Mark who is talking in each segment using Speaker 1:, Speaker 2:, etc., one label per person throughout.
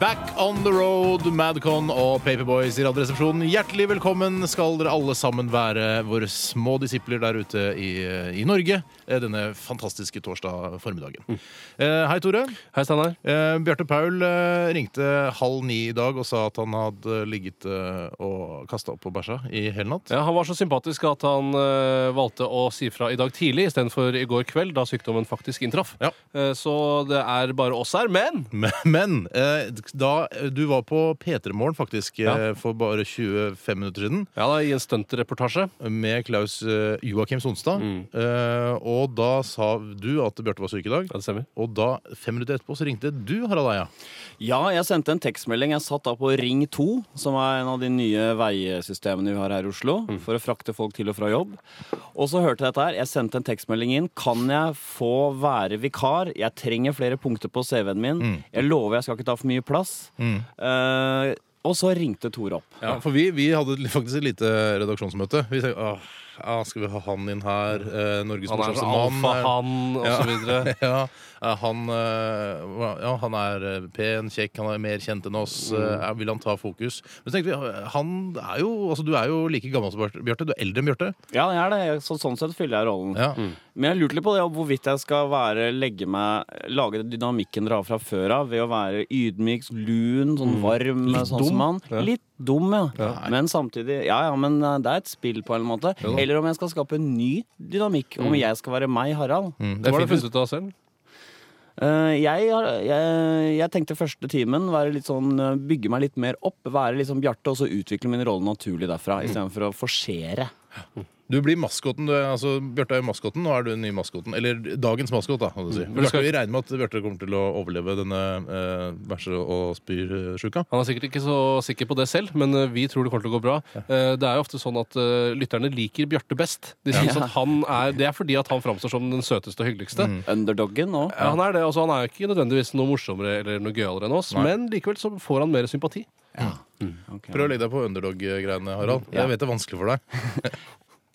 Speaker 1: Back on the road, Madcon og Paperboys i Radioresepsjonen. Hjertelig velkommen skal dere alle sammen være våre små disipler der ute i, i Norge eh, denne fantastiske torsdag formiddagen. Eh, hei, Tore.
Speaker 2: Hei, Steinar.
Speaker 1: Eh, Bjarte Paul eh, ringte halv ni i dag og sa at han hadde ligget eh, og kasta opp og bæsja i hele natt.
Speaker 2: Ja, han var så sympatisk at han eh, valgte å si fra i dag tidlig istedenfor i går kveld, da sykdommen faktisk inntraff.
Speaker 1: Ja.
Speaker 2: Eh, så det er bare oss her. Men
Speaker 1: Men, men eh, da du var på P3 Morgen faktisk eh, for bare 25 minutter siden,
Speaker 2: ja, da, i en stuntreportasje
Speaker 1: med Klaus eh, Joakim Sonstad.
Speaker 2: Mm.
Speaker 1: Eh, og da sa du at Bjarte var syk i dag.
Speaker 2: Ja, det stemmer.
Speaker 1: Og da, fem minutter etterpå så ringte du, Harald Eia.
Speaker 3: Ja, jeg sendte en tekstmelding. Jeg satt da på Ring 2, som er en av de nye veisystemene vi har her i Oslo, for å frakte folk til og fra jobb. Og så hørte jeg dette her. Jeg sendte en tekstmelding inn. Kan jeg få være vikar? Jeg trenger flere punkter på CV-en min. Jeg lover jeg skal ikke ta for mye plass. Eh, og så ringte Tore opp.
Speaker 1: Ja. For vi, vi hadde li- faktisk et lite redaksjonsmøte. Vi tenkte åh, ja, skal vi ha han inn her? Eh, Norges
Speaker 2: Han er
Speaker 1: morsomste mann.
Speaker 2: sånn
Speaker 1: er-
Speaker 2: alfahann og så videre.
Speaker 1: ja, eh, han, eh, hva- ja, han er eh, pen, kjekk, han er mer kjent enn oss.
Speaker 2: Mm.
Speaker 1: Eh, ja, vil han ta fokus? Men så tenkte vi, han er jo, altså, du er jo like gammel som Bjarte. Bjarte. Du er eldre enn Bjarte.
Speaker 3: Ja, jeg er det. Jeg- Så, sånn sett fyller jeg rollen.
Speaker 1: Ja.
Speaker 2: Mm.
Speaker 3: Men jeg lurte litt på det, om hvorvidt jeg skal være, legge meg, lage dynamikken dere har fra før av, ved å være ydmyk, lun, sånn varm, sånn
Speaker 2: dum.
Speaker 3: som han.
Speaker 2: Ja.
Speaker 3: Litt dum, ja. Men samtidig Ja ja, men eh, det er et spill på en eller annen måte.
Speaker 2: da.
Speaker 3: Eller om jeg skal skape en ny dynamikk. Om jeg skal være meg, Harald.
Speaker 2: Hva har du funnet ut av selv?
Speaker 3: Eh, jeg, har- jeg, jeg tenkte første timen være litt sånn, eh, bygge meg litt mer opp, være litt sånn Bjarte, og så utvikle min rolle naturlig derfra, istedenfor å forsere.
Speaker 1: Du blir maskoten, du, er- altså Bjarte er jo maskoten, nå er du den nye maskoten. Eller dagens maskot, da. kan du Si.
Speaker 2: Mm.
Speaker 1: Vi, skal, vi regner med at Bjarte kommer til å overleve denne eh, bæsje- og spyrsjuka.
Speaker 2: Han er sikkert ikke så sikker på det selv, men eh, vi tror det kommer til å gå bra. Eh, Det er jo ofte sånn at eh, lytterne liker Bjarte best. De synes at han er, det er fordi at han framstår som den søteste og
Speaker 1: Mm.
Speaker 2: hyggeligste.
Speaker 3: Underdoggen nå.
Speaker 2: Ja, han er det. Altså, han er jo ikke nødvendigvis noe morsommere eller noe gøyalere enn oss, men likevel så får han mer sympati.
Speaker 3: Ok.
Speaker 1: Prøv å legge deg på underdog-greiene, Harald.
Speaker 3: Ja.
Speaker 1: Jeg vet det er vanskelig for deg.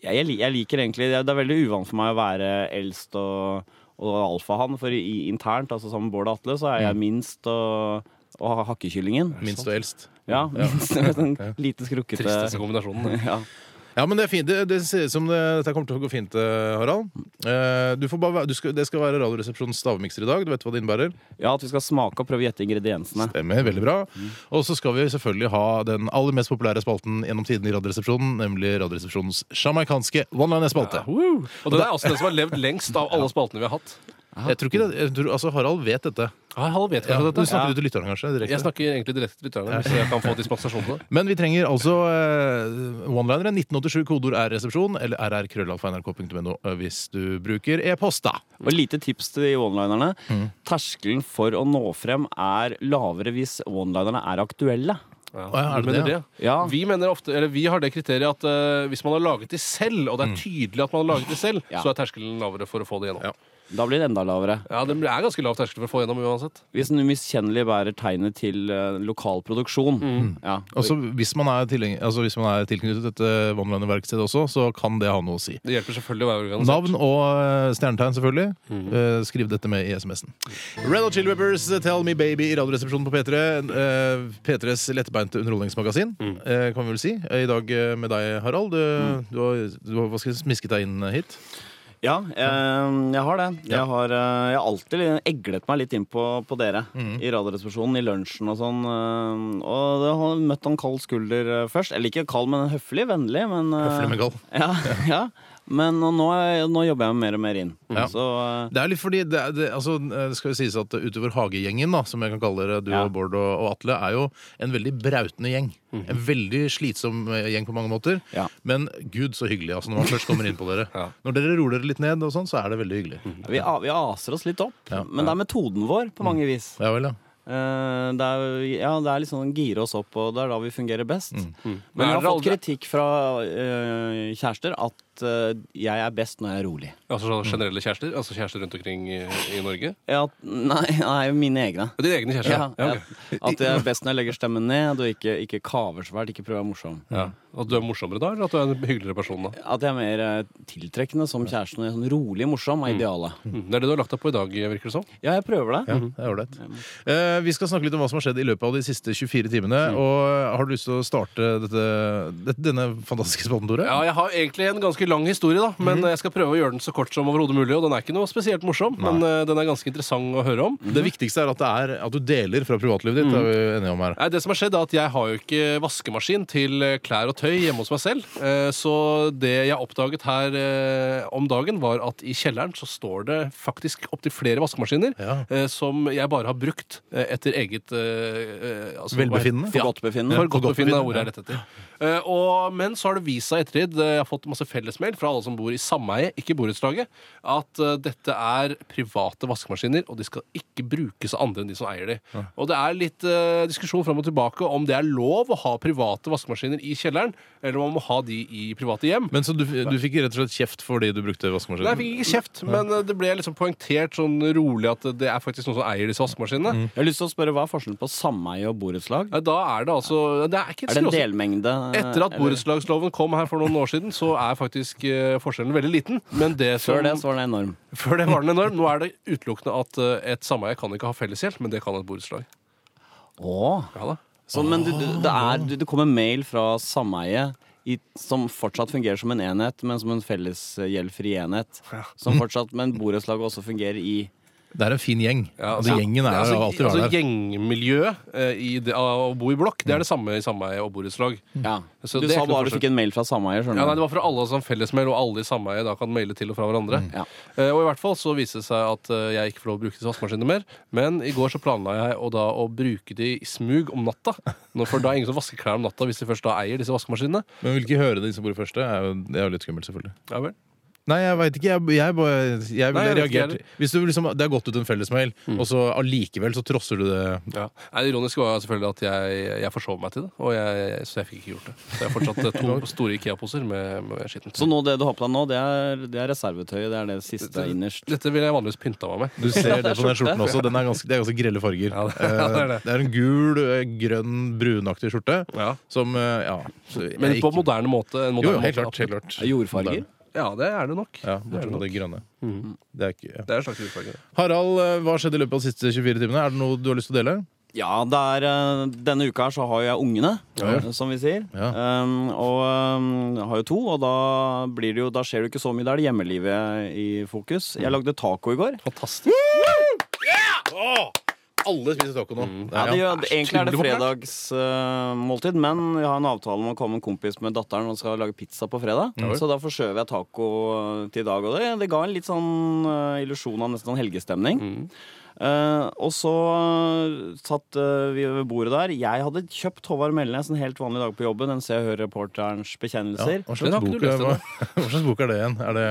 Speaker 3: jeg, jeg, li- jeg liker egentlig det er, det er veldig uvant for meg å være eldst og, og alfahann, for i, internt, altså sammen med Bård og Atle, så er jeg minst og, og ha- hakkekyllingen.
Speaker 1: Minst og eldst.
Speaker 3: Ja, minst med sånn lite skrukkete
Speaker 2: Tristeste kombinasjonen.
Speaker 3: ja.
Speaker 1: Ja, men det er fint. Det, det ser ut som det, dette kommer til å gå fint, eh, Harald. Eh, du får bare, være- du skal, det skal være Radioresepsjonens stavmikser i dag. Du vet hva det innebærer?
Speaker 3: ja, at vi skal smake og prøve å gjette ingrediensene.
Speaker 1: Stemmer, veldig bra. Og så skal vi selvfølgelig ha den aller mest populære spalten gjennom tiden i Radioresepsjonen, nemlig Radioresepsjonens sjamaikanske one-liner-spalte.
Speaker 2: Woo! Og den er også den som har levd lengst av alle spaltene vi har hatt.
Speaker 1: Jeg tror ikke det, jeg tror, altså Harald vet dette.
Speaker 2: Ah, Harald vet
Speaker 1: Ja,
Speaker 2: kanskje
Speaker 1: du
Speaker 2: dette.
Speaker 1: snakker jo til lytterne, kanskje? direkte.
Speaker 2: Jeg snakker egentlig direkte til lytterne, hvis jeg kan få dispensasjon til det.
Speaker 1: Men vi trenger altså eh, one-linere. 1987, kodeord er resepsjon, eller rrkrøllalfa.nrk.no eh, hvis du bruker e-post, da.
Speaker 3: Og lite tips til de one-linerne. Terskelen for å nå frem er lavere hvis one-linerne er aktuelle.
Speaker 2: Ja,
Speaker 1: ja, er det
Speaker 2: du mener
Speaker 1: det, ja?
Speaker 3: Ja.
Speaker 2: Vi, mener ofte, eller vi har det kriteriet at eh, hvis man har laget de selv, og det er tydelig at man har laget de selv,
Speaker 3: Ja.
Speaker 2: så er terskelen lavere for å få det gjennom.
Speaker 1: Ja.
Speaker 2: Ja,
Speaker 3: Da blir det enda lavere.
Speaker 2: det er ganske lav terskel for å få gjennom uansett.
Speaker 3: Hvis den umiskjennelig bærer tegnet til eh, lokal produksjon. Ja.
Speaker 1: Også, hvis, man er tilheng- altså, hvis man er tilknyttet dette one-liner-verkstedet også, så kan det ha noe å si.
Speaker 2: Det hjelper selvfølgelig å være organisert.
Speaker 1: Navn og eh, stjernetegn, selvfølgelig. Eh, Skriv dette med i SMS-en. Red Hot Chili Peppers, eh, Tell Me Baby i Radioresepsjonen på P3. eh, P3s lettbeinte underholdningsmagasin, eh, kan vi vel si. Eh, I dag eh, med deg, Harald. Du, du, har, du har hva skal jeg si, smisket deg inn eh, hit.
Speaker 3: Ja, eh, jeg har det. Jeg, har, eh, jeg har alltid eglet meg litt inn på, på dere
Speaker 1: Mm.
Speaker 3: i Radioresepsjonen, i lunsjen og sånn. eh, og jeg har møtt en kald skulder eh, først. Eller ikke kald, men høflig, vennlig. Men, eh,
Speaker 1: Høflig, men kald.
Speaker 3: Ja, ja. Men og nå, er- nå jobber jeg meg mer og mer inn.
Speaker 1: Ja.
Speaker 3: Så eh,
Speaker 1: Det er litt fordi det, er- det, altså, det skal jo sies at utover hagegjengen, da, som jeg kan kalle dere, du
Speaker 3: Ja.
Speaker 1: og Bård og, og Atle, er jo en veldig brautende gjeng.
Speaker 2: Mhm.
Speaker 1: En veldig slitsom eh, gjeng på mange måter.
Speaker 3: Ja.
Speaker 1: Men gud, så hyggelig altså, når man først kommer inn på dere.
Speaker 2: Ja. Mhm.
Speaker 1: Når dere roer dere litt ned, og sånn, så er det veldig hyggelig.
Speaker 3: eh, vi, a- vi aser oss litt opp.
Speaker 1: Ja. Mm.
Speaker 3: Men det er metoden vår, på mange vis.
Speaker 1: Ja vel, ja.
Speaker 3: Eh, det er, ja, det er liksom å gire oss
Speaker 1: Mm.
Speaker 3: opp, og det er da vi fungerer best. Mm. Men
Speaker 2: Men
Speaker 3: jeg
Speaker 2: er
Speaker 3: har
Speaker 2: dere
Speaker 3: fått
Speaker 2: aldri-
Speaker 3: kritikk fra eh, kjærester at at eh, jeg er best når jeg er rolig.
Speaker 2: Altså sånn generelle kjærester? Altså kjærester rundt omkring i, i Norge?
Speaker 3: Ja, at- nei, nei, mine egne.
Speaker 2: Dine egne kjærester?
Speaker 3: Ja,
Speaker 2: Ja, ok.
Speaker 3: at- At jeg er best når jeg legger stemmen ned, og ikke, ikke kaver så fælt, ikke prøver å være morsom.
Speaker 2: ja. At du er morsommere da, eller at du er en hyggeligere person da?
Speaker 3: At jeg er mer eh, tiltrekkende som kjæresten. og jeg er Sånn rolig morsom er idealet.
Speaker 2: Mm. Det er det du har lagt deg på i dag, virker det som.
Speaker 3: Ja, jeg prøver det.
Speaker 1: Ja,
Speaker 2: Mhm.
Speaker 1: det er ålreit. Eh, vi skal snakke litt om hva som har skjedd i løpet av de siste 24 timene.
Speaker 2: Mhm.
Speaker 1: Og eh, har du lyst til å starte dette, dette, denne fantastiske spalten, Tore?
Speaker 2: Ja, jeg har egentlig en ganske lang historie, da, men jeg skal prøve å gjøre den så kort som overhodet mulig. Og den er ikke noe spesielt morsom, men eh, den er ganske interessant å høre om.
Speaker 1: Det viktigste er at, det er at du deler fra privatlivet ditt.
Speaker 2: Mhm.
Speaker 1: Det er vi enige om her.
Speaker 2: Nei, Eh, det som har skjedd er at Jeg har jo ikke vaskemaskin til eh, klær og tøy hjemme hos meg selv. Eh, Så det jeg oppdaget her eh, om dagen, var at i kjelleren så står det faktisk opptil flere vaskemaskiner
Speaker 1: Ja.
Speaker 2: eh, som jeg bare har brukt eh, etter eget eh, eh, altså,
Speaker 1: Velbefinnende?
Speaker 2: hva-
Speaker 3: For godt befinnende.
Speaker 2: For godt
Speaker 1: for godt
Speaker 2: befinnende er
Speaker 1: befinnende,
Speaker 2: ordet jeg lette etter. Eh, og, men så har det vist seg i ettertid, eh, jeg har fått masse fellesmail fra alle som bor i sameie, ikke borettslaget, at eh, dette er private vaskemaskiner, og de skal ikke brukes av andre enn de som eier de. Og det er litt eh, diskusjon fram og tilbake om det er lov å ha private vaskemaskiner i kjelleren, eller om man må ha de i private hjem.
Speaker 1: Men så du, du fikk rett og slett kjeft fordi du brukte
Speaker 2: Nei, jeg
Speaker 1: vaskemaskinen?
Speaker 2: fikk ikke kjeft, men eh, det ble liksom poengtert sånn rolig at det er faktisk noen som eier disse vaskemaskinene.
Speaker 3: Jeg har lyst til å spørre, Hva er forskjellen på sameie og borettslag?
Speaker 2: Nei, Da er det altså Det er ikke
Speaker 3: Er det en
Speaker 2: skråsikker-
Speaker 3: delmengde? eh,
Speaker 2: Etter at borettslagsloven kom her for noen år siden, så er faktisk eh, forskjellen veldig liten. Men det som,
Speaker 3: Før det altså. så var den enorm.
Speaker 2: før det var den enorm. Nå er det utelukkende at eh, et sameie kan ikke ha felleshjelp, men det kan et borettslag.
Speaker 3: Åh.
Speaker 2: Ja, da.
Speaker 3: Så, Sånn, men du, du, det, er, du, det kommer mail fra sameie i, som fortsatt fungerer som en enhet, men som en felles eh, gjeldfri enhet. Som fortsatt, Men borettslaget også fungerer i
Speaker 1: Det er en fin gjeng.
Speaker 2: Ja,
Speaker 1: altså, gjengen er
Speaker 2: altså,
Speaker 1: altså, alltid
Speaker 2: altså,
Speaker 1: vært der.
Speaker 2: Gjengmiljøet eh, i det, av å bo i blokk, det er det samme i sameie og borettslag.
Speaker 3: Ja.
Speaker 2: Så
Speaker 3: Du
Speaker 2: det er
Speaker 3: sa
Speaker 2: ikke noe
Speaker 3: bare du fikk en mail fra
Speaker 2: Ja,
Speaker 3: sameier,
Speaker 2: nei,
Speaker 3: skjønner
Speaker 2: det
Speaker 3: du.
Speaker 2: var fra alle som fellesmail, og alle i sameie da kan maile til og fra hverandre.
Speaker 3: Ja.
Speaker 2: Eh, og i hvert fall så viste det seg at eh, jeg ikke får lov å bruke disse vaskemaskinene mer. Men i går så planla jeg å, da, å bruke de i smug om natta. Nå- For da er ingen som vasker klær om natta hvis de først da eier disse vaskemaskinene.
Speaker 1: Men vil ikke høre de som bor i første. Er jo, det er jo litt skummelt, selvfølgelig.
Speaker 2: Ja vel.
Speaker 1: Nei, jeg veit ikke. Jeg, jeg, bare- jeg
Speaker 2: Nei,
Speaker 1: ville
Speaker 2: jeg Mm. vet ikke
Speaker 1: reagert Hvis du liksom, Det har gått ut en fellesmail, og så allikevel så trosser du det.
Speaker 2: Ja. Nei, det ironiske var jo selvfølgelig at jeg, jeg forsov meg til det, og jeg, så jeg fikk ikke gjort det. Så jeg har fortsatt eh, to store Ikea-poser med, med skittent.
Speaker 3: Så nå, det du har på deg nå, det er, det er reservetøyet. Det er det siste innerst.
Speaker 2: Dette ville jeg vanligvis pynta meg med.
Speaker 1: Du ser det på den skjorten også. Den er ganske, det er ganske grelle farger.
Speaker 2: Ja, det- ja, det
Speaker 1: Eh,
Speaker 2: er det.
Speaker 1: det er en gul, eh, grønn, brunaktig skjorte
Speaker 2: Ja.
Speaker 1: som eh, Ja. så jeg
Speaker 2: Men på
Speaker 1: ikke-
Speaker 2: moderne måte. en
Speaker 1: Jo,
Speaker 2: Moderne
Speaker 1: jo, helt
Speaker 2: måte, altså.
Speaker 1: klart. Helt klart.
Speaker 3: Jordfarger.
Speaker 2: Ja, det er det nok.
Speaker 1: Ja,
Speaker 2: det, er
Speaker 1: bortsett
Speaker 2: det,
Speaker 1: fra
Speaker 2: nok. Mm.
Speaker 1: det grønne. Det er ikke, ja.
Speaker 2: det er en slags utfarge.
Speaker 1: Harald, eh, hva skjedde i løpet av de siste 24 timene? Er det noe du har lyst til å dele?
Speaker 3: Ja, det er, eh, denne uka her så har jeg ungene, eh, som vi sier. Um, og um, jeg har jo to, og da, blir det jo, da skjer det jo ikke så mye. Da er det hjemmelivet i fokus. Jeg
Speaker 2: Mm.
Speaker 3: lagde taco i går.
Speaker 2: Fantastisk.
Speaker 1: Alle spiser taco nå.
Speaker 3: Ja, det gjør, egentlig er det
Speaker 2: utrolig populært.
Speaker 3: fredagsmåltid, men jeg har en avtale om å komme en kompis med datteren og skal lage pizza på fredag. Så da forskjøver jeg taco eh, til i dag. Og det, det ga en litt sånn eh, illusjon av nesten sånn helgestemning. Eh, og så satt eh, vi ved bordet der. Jeg hadde kjøpt Håvard Melnes en helt vanlig dag på jobben. En Se og Hør-reporterens
Speaker 1: Ja,
Speaker 3: bekjennelser.
Speaker 1: hva,
Speaker 2: Den
Speaker 1: slags
Speaker 2: har ikke
Speaker 1: bok,
Speaker 2: du
Speaker 1: er-
Speaker 2: lest
Speaker 1: hva, hva slags bok er det igjen? Er det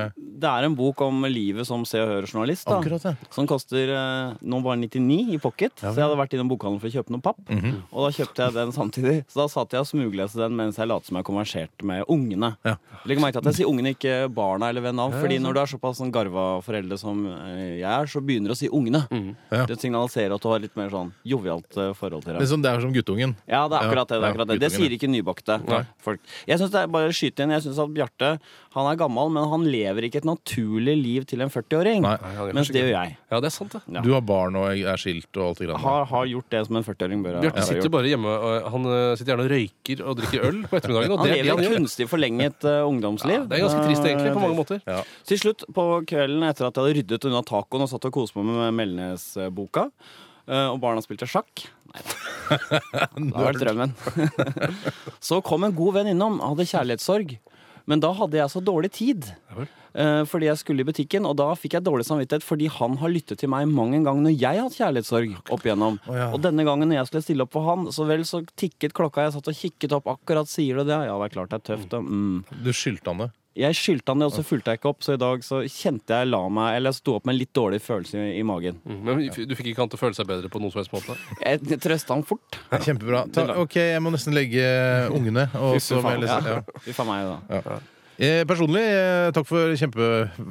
Speaker 3: Det er en bok om livet som Se og Hør-journalist. da.
Speaker 1: Akkurat, ja.
Speaker 3: Som koster eh, nå bare 99 i pocket. så jeg hadde vært innom bokhandelen for å kjøpe noe papp.
Speaker 1: Mhm.
Speaker 3: Og da kjøpte jeg den samtidig. Så da satt jeg og smugleste den mens jeg lot som jeg konverserte med ungene.
Speaker 1: Ja.
Speaker 3: Legg merke til at jeg sier ungene, ikke barna eller ved navn. fordi når du er såpass sånn garva foreldre som eh, jeg er, så begynner du å si ungene.
Speaker 1: Ja.
Speaker 3: Det signaliserer at du har litt mer sånn jovialt eh, forhold til
Speaker 1: det
Speaker 3: dem.
Speaker 1: er, som, det er som guttungen.
Speaker 3: Ja, det er akkurat det. Det,
Speaker 1: Ja,
Speaker 3: er akkurat det. det
Speaker 1: guttungen,
Speaker 3: sier ikke nybakte folk. Jeg synes det er bare å skyte inn Jeg synes at Bjarte han er gammel, men han lever ikke et naturlig liv til en 40-åring.
Speaker 1: Nei.
Speaker 2: Nei, ja, det er
Speaker 3: Mens
Speaker 2: kanskje
Speaker 3: det gjør
Speaker 2: ikke-
Speaker 3: jeg.
Speaker 2: Ja, det er sant, det.
Speaker 3: Ja.
Speaker 1: Du har barn og er skilt og alt det grann.
Speaker 3: Har, har gjort det som en 40-åring bør ha
Speaker 2: Bjarte
Speaker 3: ha
Speaker 2: sitter
Speaker 3: gjort.
Speaker 2: bare hjemme og han eh, sitter gjerne og røyker og drikker øl på ettermiddagen. Og
Speaker 3: Han
Speaker 2: det er det
Speaker 3: lever
Speaker 2: han
Speaker 3: et
Speaker 2: gjør.
Speaker 3: kunstig forlenget eh, ungdomsliv.
Speaker 2: Ja, det er ganske trist, egentlig, på mange
Speaker 3: Eh,
Speaker 2: måter.
Speaker 1: Ja.
Speaker 3: Til slutt, på kvelden etter at jeg hadde ryddet unna tacoen og satt og koste meg med Melnes-boka, eh, og barna spilte sjakk Nei da. Det var drømmen. så kom en god venn innom, hadde kjærlighetssorg. Men da hadde jeg så dårlig tid.
Speaker 2: vel.
Speaker 3: eh, Fordi jeg skulle i butikken, og da fikk jeg dårlig samvittighet fordi han har lyttet til meg mang en gang når jeg har hatt kjærlighetssorg opp igjennom.
Speaker 1: ja.
Speaker 3: Og denne gangen når jeg skulle stille opp for han, så vel så tikket klokka, jeg satt og kikket opp, akkurat sier du det? Ja, det er klart det er tøft. og Mm.
Speaker 1: Du skyldte han det.
Speaker 3: Jeg skyldte han det, og så fulgte jeg ikke opp. Så i dag så kjente jeg la meg Eller jeg sto opp med en litt dårlig følelse i, i magen.
Speaker 2: Mm, Men du fikk ikke han til å føle seg bedre på noen som helst måte?
Speaker 3: Jeg trøsta han fort.
Speaker 1: eh, Kjempebra. Ta, ok, jeg må nesten legge ungene. Og så må jeg lese. Ja.
Speaker 3: Uff a meg, da.
Speaker 1: Eh, personlig, eh, takk for kjempe,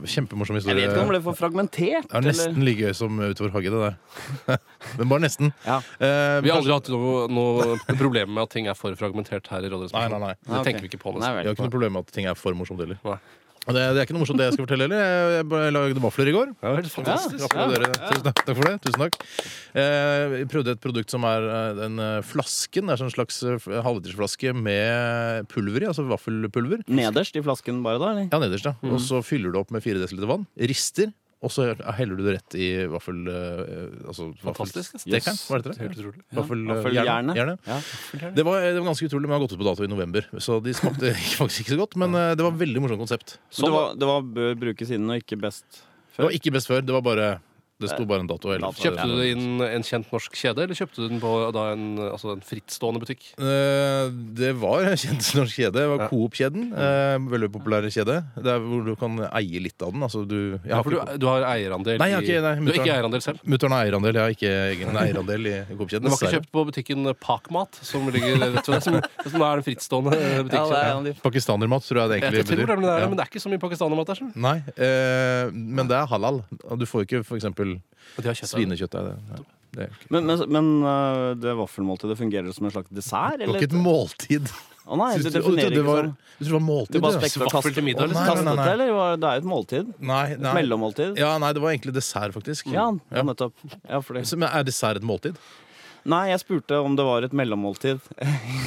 Speaker 1: kjempemorsom
Speaker 3: Jeg
Speaker 1: historie.
Speaker 3: vet ikke om det er for fragmentert.
Speaker 1: Det er nesten like gøy som Utover Hagge, det der. Men bare nesten.
Speaker 3: Ja.
Speaker 1: Eh,
Speaker 2: Vi har aldri hatt noe, noe problem med at ting er for fragmentert her i Rådhusplassen.
Speaker 1: Nei, nei, nei.
Speaker 2: Det tenker vi ikke på.
Speaker 3: Ah, Nei,
Speaker 1: Jeg
Speaker 2: Nesten.
Speaker 1: har ikke
Speaker 3: vel.
Speaker 1: noe problem med at ting er for morsomt heller.
Speaker 2: Nei.
Speaker 1: Og Det, det er ikke noe morsomt det jeg skal fortelle heller. Jeg, jeg bare lagde vafler i går.
Speaker 2: Det er helt fantastisk.
Speaker 1: Gratulerer. Tusen takk, takk for det. Tusen takk. Eh, vi prøvde et produkt som er eh, den eh, flasken. Det er sånn slags eh, halvlitersflaske med pulver i, altså vaffelpulver.
Speaker 3: Nederst i flasken bare, da? eller?
Speaker 1: Ja, nederst, da. Og så fyller du opp med 4 dl vann. Rister. Og så heller du det rett i vaffel... eh, Altså
Speaker 2: Fantastisk, ass.
Speaker 1: vaffelstekeren. Hva heter det?
Speaker 2: Helt utrolig.
Speaker 1: Vaffel-
Speaker 3: vaffeljernet.
Speaker 1: Jernet.
Speaker 3: Ja.
Speaker 1: Det var, det var ganske utrolig, men har gått ut på dato i november. Så de smakte faktisk ikke så godt, men eh, det var et veldig morsomt konsept.
Speaker 3: Så det var, det var bør brukes innen og ikke best
Speaker 1: Det var ikke best før, det var bare Det sto bare en dato. Eller,
Speaker 3: Dato.
Speaker 2: Kjøpte du det inn en kjent norsk kjede, eller kjøpte du den på da, en, altså, en frittstående butikk?
Speaker 1: Eh, Det var en kjent norsk kjede. Det var
Speaker 2: Ja.
Speaker 1: Coop-kjeden. eh, Veldig populær kjede. Det er hvor du kan eie litt av den. Altså, du, jeg
Speaker 2: Ja,
Speaker 1: har
Speaker 2: for du,
Speaker 1: ikke
Speaker 2: du har eierandel
Speaker 1: Nei, jeg har ikke- nei,
Speaker 2: i Du har ikke
Speaker 1: mutter'n.
Speaker 2: eierandel selv?
Speaker 1: Mutter'n har eierandel, jeg har ikke egen eierandel i i Coop-kjeden.
Speaker 2: Den var ikke
Speaker 1: dessverre.
Speaker 2: kjøpt på butikken Pakmat, som ligger rett ved som, som er den frittstående eh,
Speaker 3: ja,
Speaker 2: butikken.
Speaker 3: det er en av de
Speaker 1: Pakistanermat, tror jeg det
Speaker 2: jeg
Speaker 1: egentlig
Speaker 2: tror det, men, det
Speaker 1: betyr.
Speaker 2: er, men
Speaker 1: Ja.
Speaker 2: det er ikke så mye pakistanermat der. skjønner du.
Speaker 1: Nei, eh, men det er halal. Og Du får ikke for eksempel
Speaker 2: Og de har kjøtt der.
Speaker 1: svinekjøtt. er det- Det er ikke-
Speaker 3: Men, men, men øh, det vaffelmåltidet fungerer som en slags dessert?
Speaker 1: Det var
Speaker 3: Eller?
Speaker 1: ikke et måltid.
Speaker 3: Å nei,
Speaker 1: Syns
Speaker 3: det
Speaker 1: du- å, du
Speaker 3: definerer
Speaker 1: trodde det
Speaker 3: ikke
Speaker 1: var, Du
Speaker 3: sånn.
Speaker 1: trodde det var måltid?
Speaker 3: Du bare
Speaker 1: ja.
Speaker 3: spekte og
Speaker 2: Vaffel til
Speaker 3: kastet
Speaker 2: middag, liksom.
Speaker 1: Nei, nei, nei,
Speaker 3: kastet det,
Speaker 1: nei.
Speaker 3: eller? var- Det er jo et måltid.
Speaker 1: Nei,
Speaker 3: Et
Speaker 1: nei.
Speaker 3: mellommåltid.
Speaker 1: Ja, nei, det var egentlig dessert, faktisk.
Speaker 3: Ja,
Speaker 1: Ja.
Speaker 3: nettopp. Ja, fordi...
Speaker 1: Så, Men Er dessert et måltid?
Speaker 3: Nei, jeg spurte om det var et
Speaker 1: Nei,
Speaker 3: mellommåltid.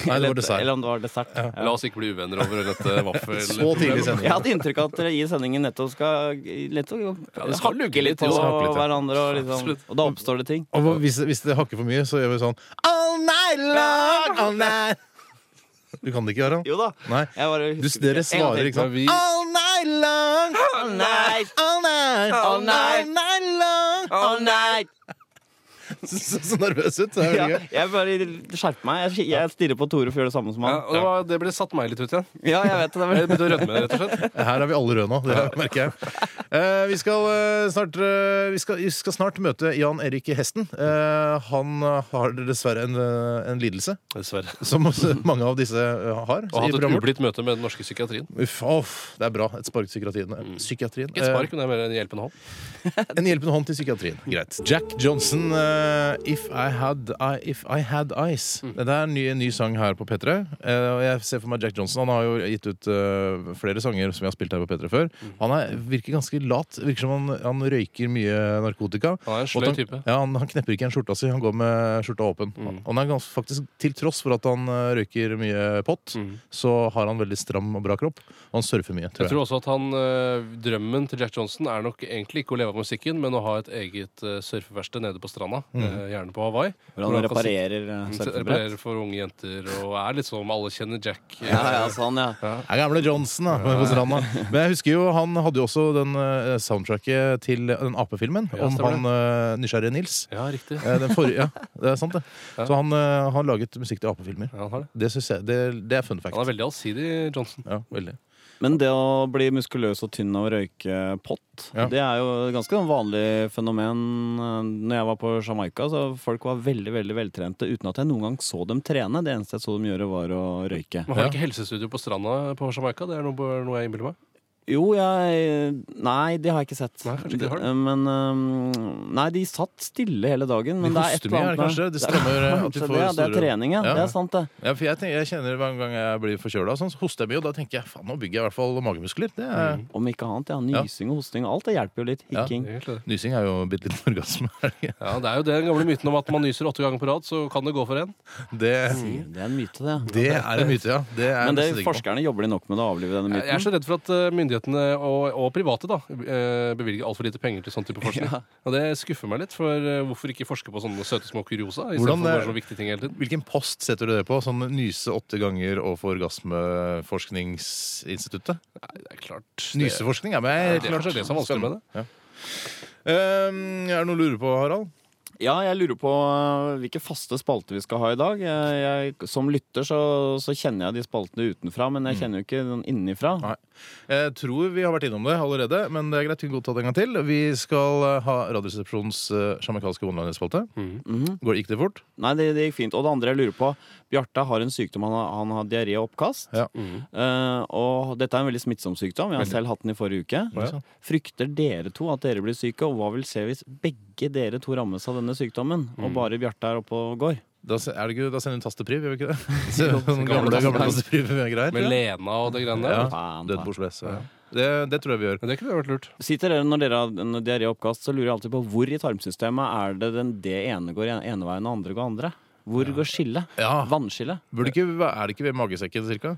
Speaker 1: det
Speaker 3: Eller
Speaker 1: var
Speaker 3: et-
Speaker 1: dessert.
Speaker 3: Eller om det var dessert. Ja.
Speaker 2: La oss ikke bli uvenner over dette vaffel...
Speaker 1: Så tidlig i sendingen.
Speaker 3: Jeg hadde inntrykk av at dere i sendingen nettopp skal, nettopp,
Speaker 2: Ja, det skal lugge litt,
Speaker 3: på
Speaker 2: det skal
Speaker 1: hakke litt, ja.
Speaker 3: hverandre, og, liksom,
Speaker 2: Absolutt.
Speaker 3: og da oppstår det ting.
Speaker 1: Og hva- hvis, hvis det hakker for mye, så gjør vi sånn All night long, all night Du kan det ikke, Harald?
Speaker 3: Jo da.
Speaker 1: Nei.
Speaker 3: Jeg bare
Speaker 1: Du, dere svarer, ikke sant?
Speaker 2: Men vi-
Speaker 1: All night long,
Speaker 3: All night,
Speaker 1: all night,
Speaker 3: All night.
Speaker 1: long
Speaker 3: all night.
Speaker 1: Så, så, så nervøs ut. så er
Speaker 3: Ja,
Speaker 1: det gøy.
Speaker 3: jeg bare skjerper meg. Jeg, jeg stirrer på Tore for å gjøre det samme som
Speaker 2: Ja,
Speaker 3: han.
Speaker 2: og det, var, det ble satt meg litt ut igjen.
Speaker 3: Ja, jeg vet det.
Speaker 2: Jeg
Speaker 3: det
Speaker 2: begynte å rødme, rett og slett.
Speaker 1: Her er vi alle røde nå, det merker jeg. Eh, vi, skal, eh, snart, eh, vi, skal, vi skal snart møte Jan Erik Hesten. Eh, han eh, har dessverre en, eh, en lidelse,
Speaker 2: Dessverre.
Speaker 1: som også mange av disse eh, har. i
Speaker 2: Og hatt et
Speaker 1: programmet vårt.
Speaker 2: ublidt møte med den norske psykiatrien.
Speaker 1: Uff, off, det er bra. Et spark til psykiatrien. psykiatrien.
Speaker 2: Mm. Ikke et spark, men det er mer en hjelpende hånd.
Speaker 1: Eh, en hjelpende hånd til psykiatrien. Greit. Jack Johnson, eh, If, I had, I, if I Had Eyes.
Speaker 2: Mm.
Speaker 1: Det er en ny, en ny sang her på P3. Eh, og jeg ser for meg Jack Johnson. Han har jo gitt ut eh, flere sanger som vi har spilt her på P3 før.
Speaker 2: Mm.
Speaker 1: Han er, virker ganske lat. Virker som han, han røyker mye narkotika.
Speaker 2: Han er en
Speaker 1: Og
Speaker 2: sløy
Speaker 1: at han-
Speaker 2: type. Mm.
Speaker 1: Ja, han, han knepper ikke igjen skjorta si. Han går med skjorta åpen. Han er gans, faktisk, Til tross for at han eh, røyker mye pott, så har han veldig stram og bra kropp. Og han surfer mye, tror
Speaker 2: Mm. Jeg
Speaker 1: jeg.
Speaker 2: tror også at han, eh, Drømmen til Jack Johnson er nok egentlig ikke å leve av musikken, men å ha et eget eh, surfeverksted nede på stranda, eh, gjerne på Hawaii.
Speaker 3: Hvordan
Speaker 2: Hvor
Speaker 3: han
Speaker 2: han kan sitte-
Speaker 3: reparerer eh,
Speaker 2: Mm.
Speaker 3: surfebrett.
Speaker 2: Reparerer for unge jenter og er litt sånn alle kjenner Jack.
Speaker 3: Ja, ja, sånn, ja.
Speaker 1: Det er gamle Johnson da, på stranda. Men jeg husker jo, han hadde jo også den eh, soundtracket til den apefilmen
Speaker 2: Ja,
Speaker 1: om
Speaker 2: stemmer
Speaker 1: han eh, nysgjerrige Nils.
Speaker 2: Ja, riktig.
Speaker 1: Eh, Den forrige, ja, det er sant, det. Så han eh, har laget musikk til apefilmer.
Speaker 2: Ja, han, har det.
Speaker 1: Det, synes jeg, det, det er fun fact.
Speaker 2: han er veldig allsidig, Johnson.
Speaker 1: Ja, veldig.
Speaker 3: Men det å bli muskuløs og tynn av å røyke pott,
Speaker 1: Ja.
Speaker 3: det er jo et ganske sånn vanlig fenomen. Når jeg var på Jamaica, så folk var veldig veldig veltrente uten at jeg noen gang så dem trene. Det eneste jeg så dem gjøre, var å røyke.
Speaker 2: Man har
Speaker 1: Ja.
Speaker 2: ikke helsestudio på stranda på Jamaica. Det er noe, noe jeg innbiller meg.
Speaker 3: Jo, jeg Nei, det har jeg ikke sett.
Speaker 2: Nei, kanskje ikke har det.
Speaker 3: Men øhm, Nei, de satt stille hele dagen. Men
Speaker 1: De
Speaker 3: det er et
Speaker 1: hoster
Speaker 3: eller
Speaker 1: mye,
Speaker 3: annet
Speaker 1: er det kanskje?
Speaker 3: med-
Speaker 1: Det strammer eh, at
Speaker 3: Kanskje
Speaker 1: de får
Speaker 3: det, det er
Speaker 1: store
Speaker 3: trening, ja.
Speaker 1: Ja.
Speaker 3: Det er sant, det.
Speaker 1: ja, for jeg, tenker, jeg kjenner hver gang jeg blir forkjøla, sånn, så hoster jeg mye. Og da tenker jeg faen, nå bygger jeg i hvert fall magemuskler. Det er,
Speaker 3: Om ikke annet, ja.
Speaker 1: Ja.
Speaker 3: Nysing og hosting, alt det hjelper jo litt.
Speaker 1: Ja.
Speaker 3: Hikking.
Speaker 2: Egentlig det.
Speaker 1: Nysing er jo en bitte liten orgasme. er det ikke?
Speaker 2: Ja, Det er jo den gamle myten om at man nyser åtte ganger på rad, så kan det gå for en.
Speaker 1: Det,
Speaker 3: Det er en myte, det.
Speaker 1: det er en myte, ja. Det er
Speaker 3: Men det,
Speaker 1: jeg nesten sikker på.
Speaker 3: forskerne jobber de nok med å avlive denne
Speaker 2: Jeg er
Speaker 3: myten.
Speaker 2: så redd for at eh, myndighetene og, og private da, eh, bevilger altfor lite penger til sånn type forskning. Og det skuffer meg litt, for eh, hvorfor ikke forske på sånne søte små kuriosa? I stedet
Speaker 1: Hvordan
Speaker 2: for
Speaker 1: det-
Speaker 2: bare så viktige ting hele tiden.
Speaker 1: Hvilken post setter du det på? Sånn Nyse åtte ganger og for orgasmeforskningsinstituttet?
Speaker 2: Nei, det er klart. Det,
Speaker 1: Nyseforskning er med.
Speaker 2: det er kanskje det som er vanskelig med det.
Speaker 1: Ehm, Um, er det noe du lurer på, Harald?
Speaker 3: Ja, jeg lurer på eh, hvilke faste spalter vi skal ha i dag. Jeg, jeg, som lytter så, så kjenner jeg de spaltene utenfra, men jeg kjenner jo ikke den innenfra.
Speaker 1: Mm. Nei. Jeg tror vi har vært innom det allerede, men det er greit. Vi kan godt ta det en gang til. Vi skal eh, ha Radioresepsjonens eh, sjamarkanske online-spalte. Går- Gikk det fort?
Speaker 3: Nei, det, det gikk fint. Og det andre jeg lurer på Bjarte har en sykdom. Han har, han har diaré og oppkast.
Speaker 1: Ja.
Speaker 2: Mm.
Speaker 3: Eh, og dette er en veldig smittsom sykdom. Jeg har selv hatt den i forrige uke.
Speaker 1: Ja.
Speaker 3: Frykter dere to at dere blir syke, og hva vil skje hvis begge dere to rammes av denne sykdommen,
Speaker 1: Mm.
Speaker 3: og bare Bjarte er oppe og går?
Speaker 1: Da, se- er det ikke, da sender hun Tastepriv, gjør vi ikke det? Så,
Speaker 3: Jo,
Speaker 1: sånn gamle, gamle Tastepriv-greier.
Speaker 2: Med
Speaker 1: Ja.
Speaker 2: Lena og det greiene der.
Speaker 1: Ja.
Speaker 3: Faen,
Speaker 1: Død
Speaker 3: faen.
Speaker 1: bordsles. Ja. Det, det tror jeg vi gjør.
Speaker 2: Men det kunne vært lurt.
Speaker 3: Sitter dere Når dere har en diaré og oppkast, så lurer jeg alltid på hvor i tarmsystemet er det den, det ene går en- ene veien, og andre går andre? Hvor går skillet?
Speaker 1: Ja.
Speaker 3: Vannskillet?
Speaker 1: Burde ikke, er det ikke ved magesekken, cirka?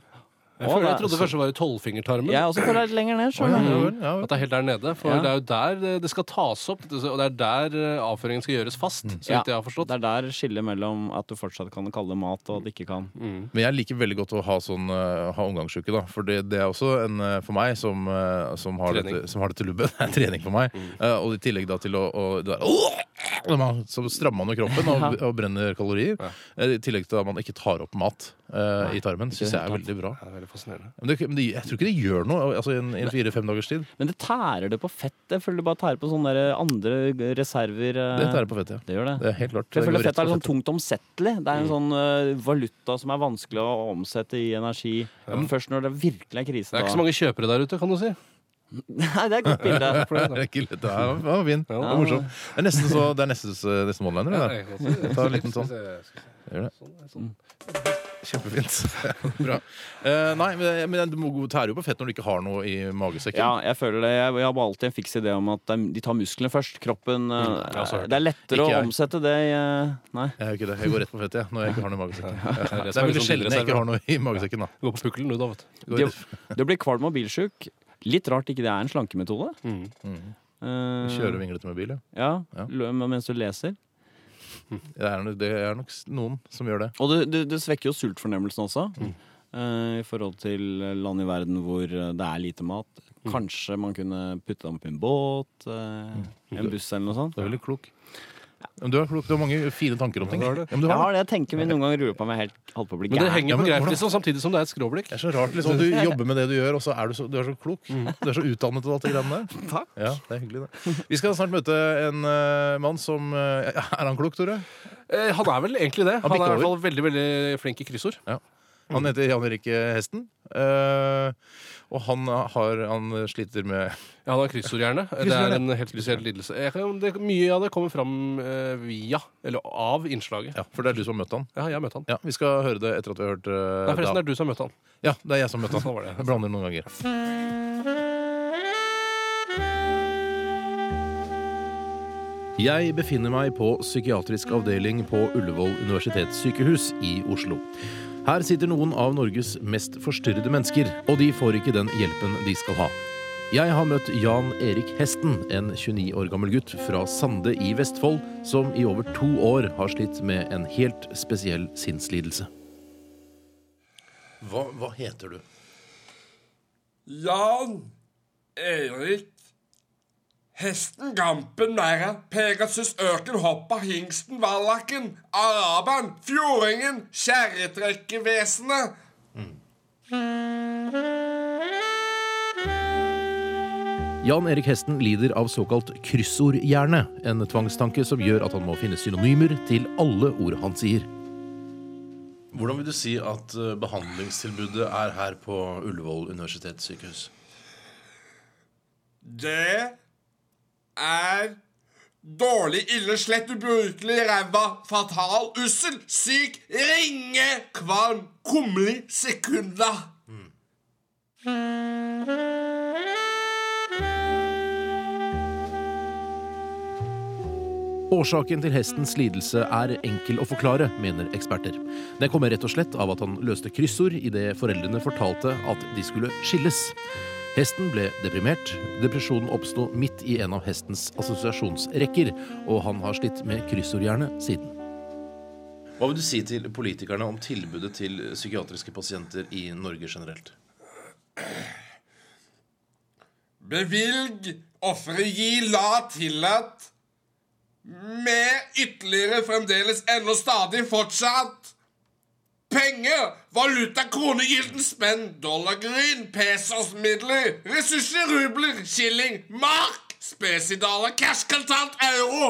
Speaker 2: Jeg,
Speaker 3: Å,
Speaker 2: føler,
Speaker 3: det
Speaker 2: jeg
Speaker 3: er-
Speaker 2: trodde først det var i tolvfingertarmen.
Speaker 3: Jeg er også på vei lenger ned. skjønner du.
Speaker 1: Ja, vel, ja, vel.
Speaker 2: Mm. At det er helt der nede. For
Speaker 3: Ja.
Speaker 2: det er jo der det- det skal tas opp, og det er der eh, avføringen skal gjøres
Speaker 1: Mm.
Speaker 2: fast. Så vidt jeg har forstått.
Speaker 3: Det er der skillet mellom at du fortsatt kan kalle det mat, og at det ikke kan.
Speaker 1: Men jeg liker veldig godt å ha, sånn, eh, ha omgangsuke, da. For det, det er også en eh, for meg som, eh, som, har,
Speaker 2: Trening.
Speaker 1: dette, som har dette lubbet. Det er trening for meg. Eh, og i tillegg da til å, å det er, Når man- Så strammer man jo kroppen og, og brenner kalorier. Eh, I tillegg til at man ikke tar opp mat eh, i tarmen. Syns jeg er veldig bra.
Speaker 2: Ja, det er veldig fascinerende.
Speaker 1: Men, det, men det, jeg tror ikke det gjør noe altså, i en, i en fire-fem dagers tid.
Speaker 3: Men det tærer det på fett. Jeg føler det bare tærer på sånne der andre g- reserver. eh.
Speaker 1: Det tærer på fettet. ja.
Speaker 3: Det gjør det.
Speaker 1: Det er helt klart.
Speaker 3: For jeg
Speaker 1: Det går
Speaker 3: føler
Speaker 1: rett
Speaker 3: fett er
Speaker 1: på Mm.
Speaker 3: litt sånn tungt omsettelig. Det er en sånn eh, valuta som er vanskelig å omsette i energi. Men først når det virkelig er krise,
Speaker 2: Det er ikke så mange kjøpere der ute, kan du si.
Speaker 3: Nei, det er et godt bilde.
Speaker 2: For det, da.
Speaker 1: Det er ikke lett. Det er- det var fin. Det var morsom. Det er nesten så Det er nesten, så- nesten one-liner, det der. Ta en liten sånn. Gjør det. Kjempefint. Bra. Eh, nei, men, men du må gå- tærer jo på fett når du ikke har noe i magesekken.
Speaker 3: Ja, jeg føler det. Jeg, jeg har bare alltid en fiks idé om at de de tar musklene først. Kroppen eh,
Speaker 1: Mm,
Speaker 2: jeg har også hørt
Speaker 3: Det er lettere
Speaker 1: Ikke
Speaker 3: å
Speaker 1: jeg.
Speaker 3: omsette det i eh, Nei.
Speaker 1: Jeg gjør ikke det. Jeg går rett på fettet jeg, når jeg ikke har noe i magesekken.
Speaker 2: er
Speaker 1: Ja. Det
Speaker 2: det
Speaker 1: er sånn
Speaker 2: som er
Speaker 1: veldig
Speaker 2: liksom
Speaker 1: sjelden jeg ikke
Speaker 2: bilreserve.
Speaker 1: har noe i magesekken. da
Speaker 2: Gå på pukkelen, du, da, vet du.
Speaker 1: Går
Speaker 3: Det,
Speaker 1: rett-
Speaker 3: det blir kvalm og bilsjuk. Litt rart ikke det er en slankemetode.
Speaker 2: Mm.
Speaker 3: Eh,
Speaker 1: Kjører vinglete med bil, ja.
Speaker 3: ja,
Speaker 1: Ja.
Speaker 3: lø- mens du leser.
Speaker 1: Det er, nok- det er nok s- noen som gjør det.
Speaker 3: Og det, det, det svekker jo sultfornemmelsen også.
Speaker 1: Mm.
Speaker 3: eh, I forhold til land i verden hvor eh, det er lite mat.
Speaker 1: Mm.
Speaker 3: Kanskje man kunne putte dem opp i en båt,
Speaker 1: Mm.
Speaker 3: eh, en buss eller noe sånt.
Speaker 1: Du er veldig klok. Men du er klok. Du har mange fine tanker om ting.
Speaker 2: Ja, det er det.
Speaker 1: Ja, men du
Speaker 3: Jeg
Speaker 1: har det.
Speaker 3: har det jeg tenker vi noen ganger lurer på om jeg helt holdt på å bli
Speaker 2: Men det
Speaker 3: gæren.
Speaker 2: henger jo
Speaker 1: Ja,
Speaker 2: på
Speaker 1: men
Speaker 2: greip,
Speaker 1: hvordan-
Speaker 2: liksom, samtidig som det er et skråblikk.
Speaker 1: Det er så rart. liksom Du jobber med det du gjør, og så er du så, du er så klok. Du er så utdannet og alt det greiene der.
Speaker 3: Takk.
Speaker 1: Ja, det er hyggelig det. Vi skal snart møte en eh, mann som eh, Er han klok, Tore?
Speaker 2: Eh, Han er vel egentlig det.
Speaker 1: Han
Speaker 2: Han er i
Speaker 1: bikker
Speaker 2: hvert fall veldig veldig flink i kryssord.
Speaker 1: Han heter Jan Erik Hesten. eh, og han, har, han sliter med
Speaker 2: Ja, han har kryssordhjerne. Det er en helt spesiell lidelse. Jeg kan, det, mye av det kommer fram eh, via, eller av, innslaget.
Speaker 1: Ja, for det er du som har møtt han.
Speaker 2: Ja, jeg har møtt han.
Speaker 1: Ja, Vi skal høre det etter at vi har hørt eh,
Speaker 2: Nei, forresten,
Speaker 1: da-
Speaker 2: det er du som har møtt han.
Speaker 1: Ja, det er jeg som møtte
Speaker 2: Sånn
Speaker 1: han.
Speaker 2: var det.
Speaker 1: Jeg blander noen ganger. Jeg befinner meg på psykiatrisk avdeling på Ullevål universitetssykehus i Oslo. Her sitter noen av Norges mest forstyrrede mennesker, og de får ikke den hjelpen de skal ha. Jeg har møtt Jan Erik Hesten, en 29 år gammel gutt fra Sande i Vestfold, som i over to år har slitt med en helt spesiell sinnslidelse. Hva, hva heter du?
Speaker 4: Jan Erik Hesten, Gampen, Mæra, Pegasus, Øken, Hoppa, Hingsten, Vallaken, Araberen, Fjordingen, Kjerretrekkevesenet.
Speaker 1: Jan Erik Hesten lider av såkalt kryssordhjerne, en tvangstanke som gjør at han må finne synonymer til alle ord han sier. Hvordan vil du si at eh, behandlingstilbudet er her på Ullevål universitetssykehus?
Speaker 4: Det er dårlig, ille, slett, ubrukelig, ræva, fatal, ussel, syk, ringe, kvalm, kummerlig, sekunda.
Speaker 1: Årsaken til hestens lidelse er enkel å forklare, mener eksperter. Den kommer rett og slett av at han løste kryssord idet foreldrene fortalte at de skulle skilles. Hesten ble deprimert. Depresjonen oppsto midt i en av hestens assosiasjonsrekker, og han har slitt med kryssordhjerne siden. Hva vil du si til politikerne om tilbudet til psykiatriske pasienter i Norge generelt?
Speaker 4: Bevilg, ofre, gi, la, tillat. Med ytterligere fremdeles ennå stadig fortsatt Penger, valuta, kroner, gylden, spenn, dollar, gryn, pesos, midler, ressurser, rubler, skilling, mark, spesidaler, cash, kontant, euro.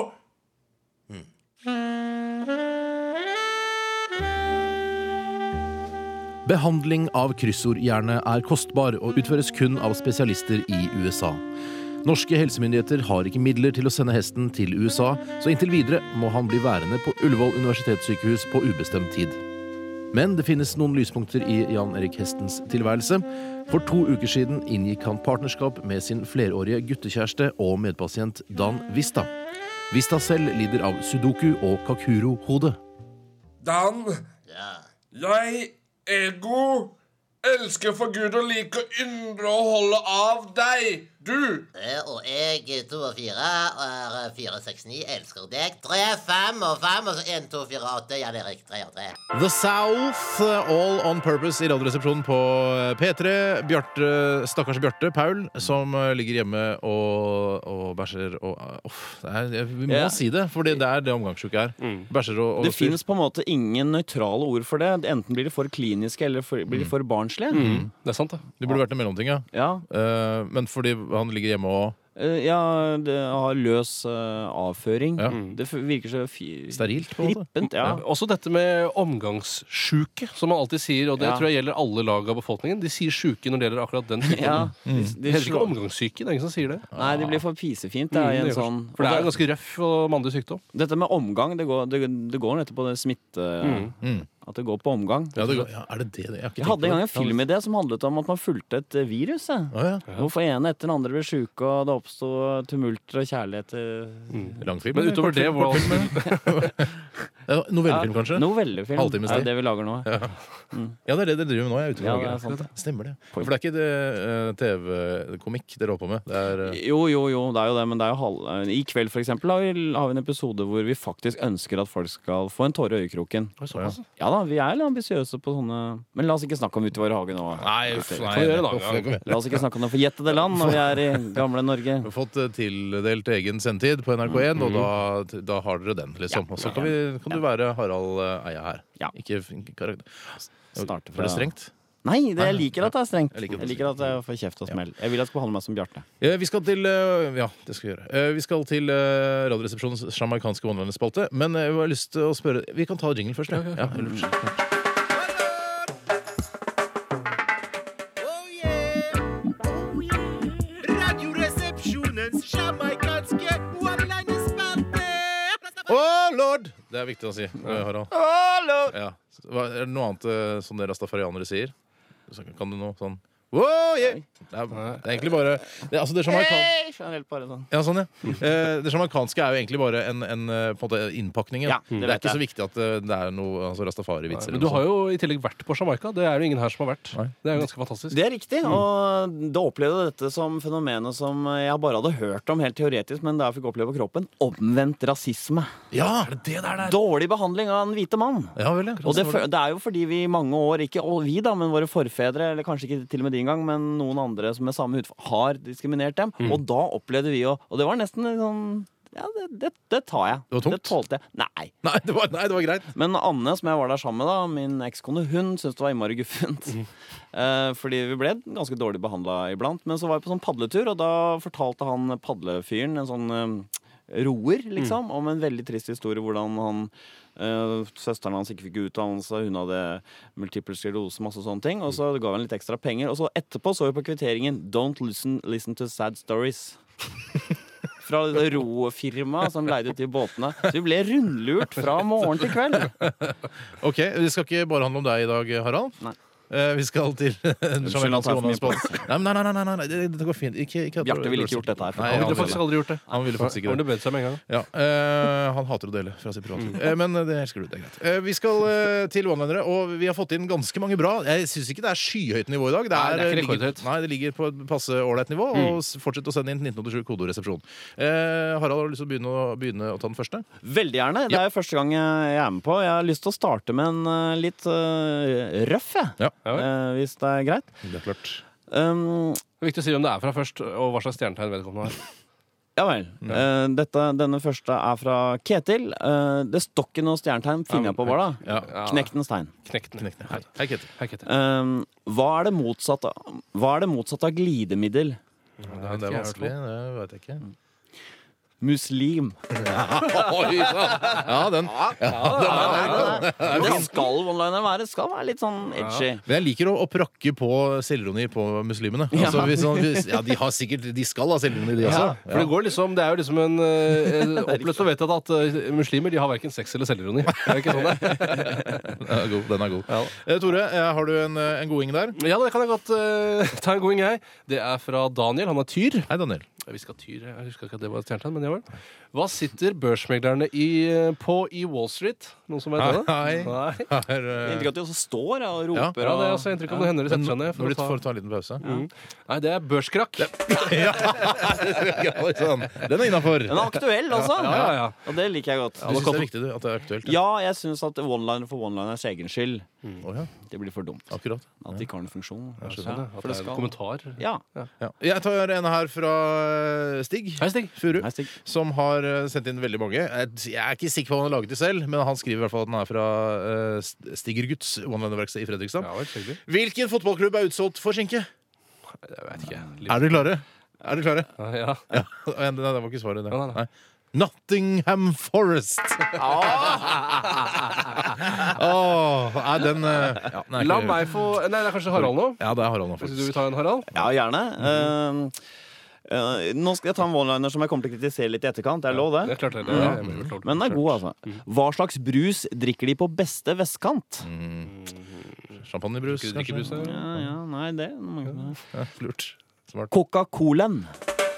Speaker 1: Behandling av kryssordhjerne er kostbar og utføres kun av spesialister i USA. Norske helsemyndigheter har ikke midler til å sende hesten til USA, så inntil videre må han bli værende på Ullevål universitetssykehus på ubestemt tid. Men det finnes noen lyspunkter i Jan Erik Hestens tilværelse. For to uker siden inngikk han partnerskap med sin flerårige guttekjæreste og medpasient Dan Vista. Vista selv lider av sudoku og kakuro-hode.
Speaker 4: Dan, jeg, ego, elsker for Gud og liker å yndre og holde av deg. Du,
Speaker 5: Eh, Og jeg, to og fire, er eh, fire, seks, ni, elsker deg. Tre, fem og fem, og så én, to, fire, åtte. Jan Erik, tre og tre.
Speaker 1: The South, All On Purpose i Radioresepsjonen på P3. Bjarte, stakkars Bjarte Paul, som ligger hjemme og, og bæsjer og uff, det er, jeg- Vi må
Speaker 3: Ja.
Speaker 1: si det, for det er det omgangssjuke er. Bæsjer og, og
Speaker 3: Det finnes på en måte ingen nøytrale ord for det. Enten blir de for kliniske, eller for,
Speaker 1: Mm.
Speaker 3: blir de for barnslige.
Speaker 2: Det er sant, det.
Speaker 1: Det burde vært en mellomting, ja.
Speaker 3: Ja,
Speaker 1: Eh, men fordi han ligger hjemme og
Speaker 3: eh, ja, det har løs eh, avføring.
Speaker 1: Ja.
Speaker 3: Det f- virker så fi-
Speaker 1: Sterilt, på en måte.
Speaker 3: Rippent, ja.
Speaker 2: Også dette med omgangssjuke, som man alltid sier, og det
Speaker 3: Ja.
Speaker 2: tror jeg gjelder alle lag av befolkningen. De sier sjuke når det gjelder akkurat den sykdommen.
Speaker 3: ja.
Speaker 1: Mm.
Speaker 3: De, de
Speaker 2: Det heter ikke
Speaker 3: slår-
Speaker 2: omgangssyke, det er ingen som sier det.
Speaker 3: Nei, det blir for
Speaker 1: Mm,
Speaker 3: pisefint. Det er i en
Speaker 2: Det gjør
Speaker 3: sånn
Speaker 2: For det er jo ganske røff og mandig sykdom.
Speaker 3: Dette med omgang, det går, det, det går nettopp på det smitte... Mm. At det går på omgang.
Speaker 1: Ja, det, går- ja, er det det? det? Jeg, har Mm. ikke
Speaker 3: Jeg
Speaker 1: tenkt
Speaker 3: hadde
Speaker 1: på
Speaker 3: en gang
Speaker 1: det.
Speaker 3: en filmidé som handlet om at man fulgte et eh, virus. jeg.
Speaker 1: Å, ja.
Speaker 3: Hvorfor ene etter den andre ble sjuke, og det oppsto tumulter og kjærlighet. eh,
Speaker 1: Langfilm?
Speaker 2: Men
Speaker 1: eller
Speaker 2: utover det,
Speaker 1: kortfilm?
Speaker 2: hvordan
Speaker 1: Ja, Novellefilm, kanskje?
Speaker 3: Novellefilm.
Speaker 1: Halvtimes
Speaker 3: er
Speaker 1: tid.
Speaker 3: det det vi lager nå.
Speaker 1: Ja, det er det dere driver med nå. Jeg er ute
Speaker 3: Ja,
Speaker 1: og
Speaker 3: det er
Speaker 1: lager.
Speaker 3: sant det.
Speaker 1: Stemmer det. For det er ikke det, eh, TV-komikk dere holder på med. Det er eh,
Speaker 3: Jo, jo, jo, det er jo det, men det er jo halv... eh, I kveld, for eksempel, har vi, har vi en episode hvor vi faktisk ønsker at folk skal få en tåre i øyekroken.
Speaker 1: eh,
Speaker 3: Ja da, vi er litt ambisiøse på sånne Men la oss ikke snakke om Ute i vår hage nå.
Speaker 1: Nei,
Speaker 3: Gutter.
Speaker 1: nei,
Speaker 2: Få gjøre det da,
Speaker 1: uff,
Speaker 2: ja.
Speaker 1: kom igjen.
Speaker 3: La oss ikke snakke om det forjettede land når vi er i gamle Norge.
Speaker 1: Vi har fått eh, tildelt egen sendetid på NRK1,
Speaker 3: Mm.
Speaker 1: og
Speaker 3: Mm-hmm.
Speaker 1: da, da har dere den, liksom. Og så kan, vi, kan du være Harald eh, Eia her.
Speaker 3: Ja.
Speaker 1: Ikke f- karakter.
Speaker 3: Starte
Speaker 1: Var
Speaker 3: fra
Speaker 1: det strengt?
Speaker 3: Nei, det, jeg liker at det er strengt.
Speaker 1: Jeg liker at det er
Speaker 3: Jeg liker at jeg får kjeft og smell. Jeg vil at jeg skal behandle meg som Bjarte.
Speaker 1: Eh, Vi skal til eh, Ja, det skal vi gjøre. Eh, Vi skal til eh, Radioresepsjonens sjamarkanske one-liner-spalte. Men eh, jeg har lyst til å spørre Vi kan ta jingle først, ja. ja lurt.
Speaker 6: Oh, Radioresepsjonens sjamaikanske one-liner-spalte.
Speaker 1: Å, lord! Det er viktig å si, eh, Harald. Ja. Hva, er det noe annet eh, som dere rastafarianere sier? Så Kan du noe sånn Wow, yeah. det, er, det er egentlig bare det, er- altså, det er sjamarkan-
Speaker 3: Hei, generelt bare sånn.
Speaker 1: Ja, sånn, ja. Eh, det sjamaikanske er jo egentlig bare en, en eh, på en måte innpakningen.
Speaker 3: Ja,
Speaker 1: det,
Speaker 3: det
Speaker 1: er
Speaker 3: vet
Speaker 1: ikke så
Speaker 3: jeg.
Speaker 1: viktig at eh, det er noe altså, rastafari-vitser.
Speaker 2: Men du har jo i tillegg vært på Jamaica. Det er det jo ingen her som har vært. Det er jo ganske fantastisk.
Speaker 3: Det er riktig,
Speaker 1: Mm.
Speaker 3: og da opplevde jeg dette som fenomenet som jeg bare hadde hørt om helt teoretisk, men da jeg fikk oppleve på kroppen. Omvendt rasisme.
Speaker 1: Ja, er det det der det er?
Speaker 3: Dårlig behandling av den hvite mann.
Speaker 1: Ja vel, ja.
Speaker 3: Og det, fø- det er jo fordi vi i mange år, ikke og vi da, men våre forfedre, eller kanskje ikke til og med din gang, men noen andre som med samme hudfarge, har diskriminert dem.
Speaker 1: Mm.
Speaker 3: Og da opplevde vi jo Og det var nesten litt sånn Ja, det, det, det tar jeg.
Speaker 1: Det var tungt?
Speaker 3: tålte jeg. Nei.
Speaker 1: Nei, det var, nei, det var greit.
Speaker 3: Men Anne, som jeg var der sammen med, da, min ekskone, hun syntes det var innmari guffent. Eh, fordi vi ble ganske dårlig behandla iblant. Men så var vi på sånn padletur, og da fortalte han padlefyren, en sånn eh, roer, liksom, om en veldig trist historie hvordan han eh, Søsteren hans ikke fikk utdannelse, hun hadde multiple sklerose, masse sånne ting. Og så ga han litt ekstra penger. Og så etterpå så vi på kvitteringen 'Don't listen, listen to sad stories'. Fra det rofirmaet som leide ut de båtene. Så vi ble rundlurt fra morgen til kveld.
Speaker 1: Ok, Det skal ikke bare handle om deg i dag, Harald.
Speaker 3: Nei.
Speaker 1: Eh, vi skal til den
Speaker 3: at jeg tar
Speaker 1: sjamaikanske
Speaker 3: for mye
Speaker 1: one-man-spalte. Nei, men nei, nei, nei, nei, nei, det, det går fint. Ikke, ikke, at-
Speaker 3: Bjarte ville ikke gjort dette her, for
Speaker 1: Nei,
Speaker 2: Han
Speaker 1: han
Speaker 2: ville faktisk
Speaker 1: ville,
Speaker 2: aldri gjort det.
Speaker 1: han ville faktisk ikke
Speaker 2: Han
Speaker 1: det.
Speaker 2: ville bedt seg med en gang.
Speaker 1: Ja, eh, Han hater å dele fra sitt privatliv.
Speaker 2: Mm.
Speaker 1: Eh, men det elsker du. Det er greit. Eh, vi skal eh, til one-linere, og vi har fått inn ganske mange bra. Jeg syns ikke det er skyhøyt nivå i dag. Det
Speaker 2: Nei, det er ikke
Speaker 1: ligger-
Speaker 2: rekordhøyt. Mm.
Speaker 1: Nei, det ligger på et passe ålreit nivå. Og s- fortsett å sende inn 1987 kodoresepsjon. Eh, Harald, har du lyst til å begynne, å begynne å ta den første?
Speaker 3: Veldig gjerne. Det er jo første gang jeg er med på. Jeg har lyst til å starte med en eh, litt eh, røff, jeg.
Speaker 1: Ja.
Speaker 2: Ja, vel.
Speaker 3: Eh, hvis det er greit.
Speaker 1: Det er klart.
Speaker 3: Um,
Speaker 2: Det er viktig å si hvem det er fra først, og hva slags stjernetegn vedkommende har.
Speaker 3: Ja vel. Eh, dette, denne første er fra Ketil. Eh, det står ikke noe stjernetegn, finner jeg på bare da.
Speaker 1: Ja.
Speaker 3: Knektens tegn.
Speaker 2: Knekt ned.
Speaker 1: Knekk ned. Hei. Hei, Ketil.
Speaker 2: Hei, Ketil.
Speaker 3: Eh, hva er det motsatte hva er det motsatte av glidemiddel?
Speaker 1: Ja, det er vanskelig. Det vet jeg ikke.
Speaker 2: Mm.
Speaker 3: Muslim.
Speaker 2: Oi, sant.
Speaker 1: sånn. Ja, den.
Speaker 3: Det skal online være. Det skal være litt sånn edgy.
Speaker 1: Men jeg liker å, å prakke på selvironi på muslimene.
Speaker 3: Ja.
Speaker 1: Altså, hvis, man- hvis, ja, de har sikkert De skal ha selvironi, de også.
Speaker 2: Ja, for det, går liksom, det er jo liksom en eh, opplest og vedtatt at eh, muslimer de har verken sex eller selvironi. Er det ikke sånn det? er?
Speaker 1: Den er god. Den er god. Eh, Tore, eh, har du en, eh, en goding der?
Speaker 2: Ja, det kan jeg godt eh, ta en god gang, jeg. Det er fra Daniel. Han er tyr.
Speaker 1: Hei, Daniel.
Speaker 2: Jeg visste ikke at tyr jeg husker ikke at det var et stjernetegn, men ja vel. Hva sitter børsmeglerne i, eh, på i Wall Street? Noen som vet det?
Speaker 1: Nei.
Speaker 2: Nei.
Speaker 1: Her, eh,
Speaker 3: Inntrykk av at de også står ja, og
Speaker 1: Ja.
Speaker 2: Ja,
Speaker 3: roper.
Speaker 2: det er
Speaker 3: og-
Speaker 2: altså inntrykk av det hender de setter seg ned.
Speaker 1: når
Speaker 2: For
Speaker 1: du
Speaker 2: å ta...
Speaker 1: får ta en liten pause.
Speaker 2: Mm. Nei, det er børskrakk.
Speaker 1: Ja, oi, sånn. Den er innafor.
Speaker 3: Den er aktuell også.
Speaker 2: Ja, ja, ja.
Speaker 3: Og det liker jeg godt.
Speaker 1: Du syns det er viktig du, at det er aktuelt?
Speaker 3: Ja, jeg syns at one-liner for one-liners egen skyld
Speaker 1: Å, ja.
Speaker 3: Det blir for dumt.
Speaker 1: Akkurat.
Speaker 3: At de ikke har noen funksjon.
Speaker 2: Mm. Skjønner,
Speaker 3: Ja,
Speaker 2: at
Speaker 3: for
Speaker 2: det er
Speaker 3: det
Speaker 2: en
Speaker 3: skal-
Speaker 2: kommentar.
Speaker 3: Ja.
Speaker 1: Ja. Jeg tar en her fra eh, Stig.
Speaker 2: Hei, Stig.
Speaker 1: Furu.
Speaker 3: Hei, Stig.
Speaker 1: Som har eh, sendt inn veldig mange. Jeg jeg er ikke sikker på om han har laget de selv, men han skriver i hvert fall at den er fra eh, St- Stigerguts one-liner-verksted i Fredrikstad.
Speaker 2: Ja vel, hyggelig.
Speaker 1: Hvilken fotballklubb er utsolgt for skinke?
Speaker 2: Jeg vet ikke.
Speaker 1: Er dere klare? Er dere klare?
Speaker 2: Litt- Ja.
Speaker 1: Ja. Nei, det var ikke svaret. Det.
Speaker 2: Nei, nei, nei.
Speaker 1: Nei. Nottingham Forest!
Speaker 2: Ah!
Speaker 1: Åh, nei, den eh, ja, den er ikke-
Speaker 2: La meg få Nei, det er kanskje Harald nå?
Speaker 1: Ja, det har han nå,
Speaker 2: Hvis du vil
Speaker 1: faktisk.
Speaker 2: ta en Harald?
Speaker 3: Ja, gjerne.
Speaker 2: Mhm.
Speaker 3: Eh, eh, nå skal jeg ta en one-liner som jeg kommer til å kritisere litt i etterkant. Det er lov,
Speaker 2: Det
Speaker 3: det.
Speaker 2: er klart det. det er- det er Mhm. klart.
Speaker 3: Men den er god, altså. Hva slags brus drikker de på beste vestkant?
Speaker 1: Champagnebrus,
Speaker 2: Skal du drikke brus,
Speaker 1: kanskje?
Speaker 2: eller?
Speaker 3: Ja, ja, nei, det
Speaker 1: Ja, lurt. Smart.
Speaker 3: Coca-Colaen.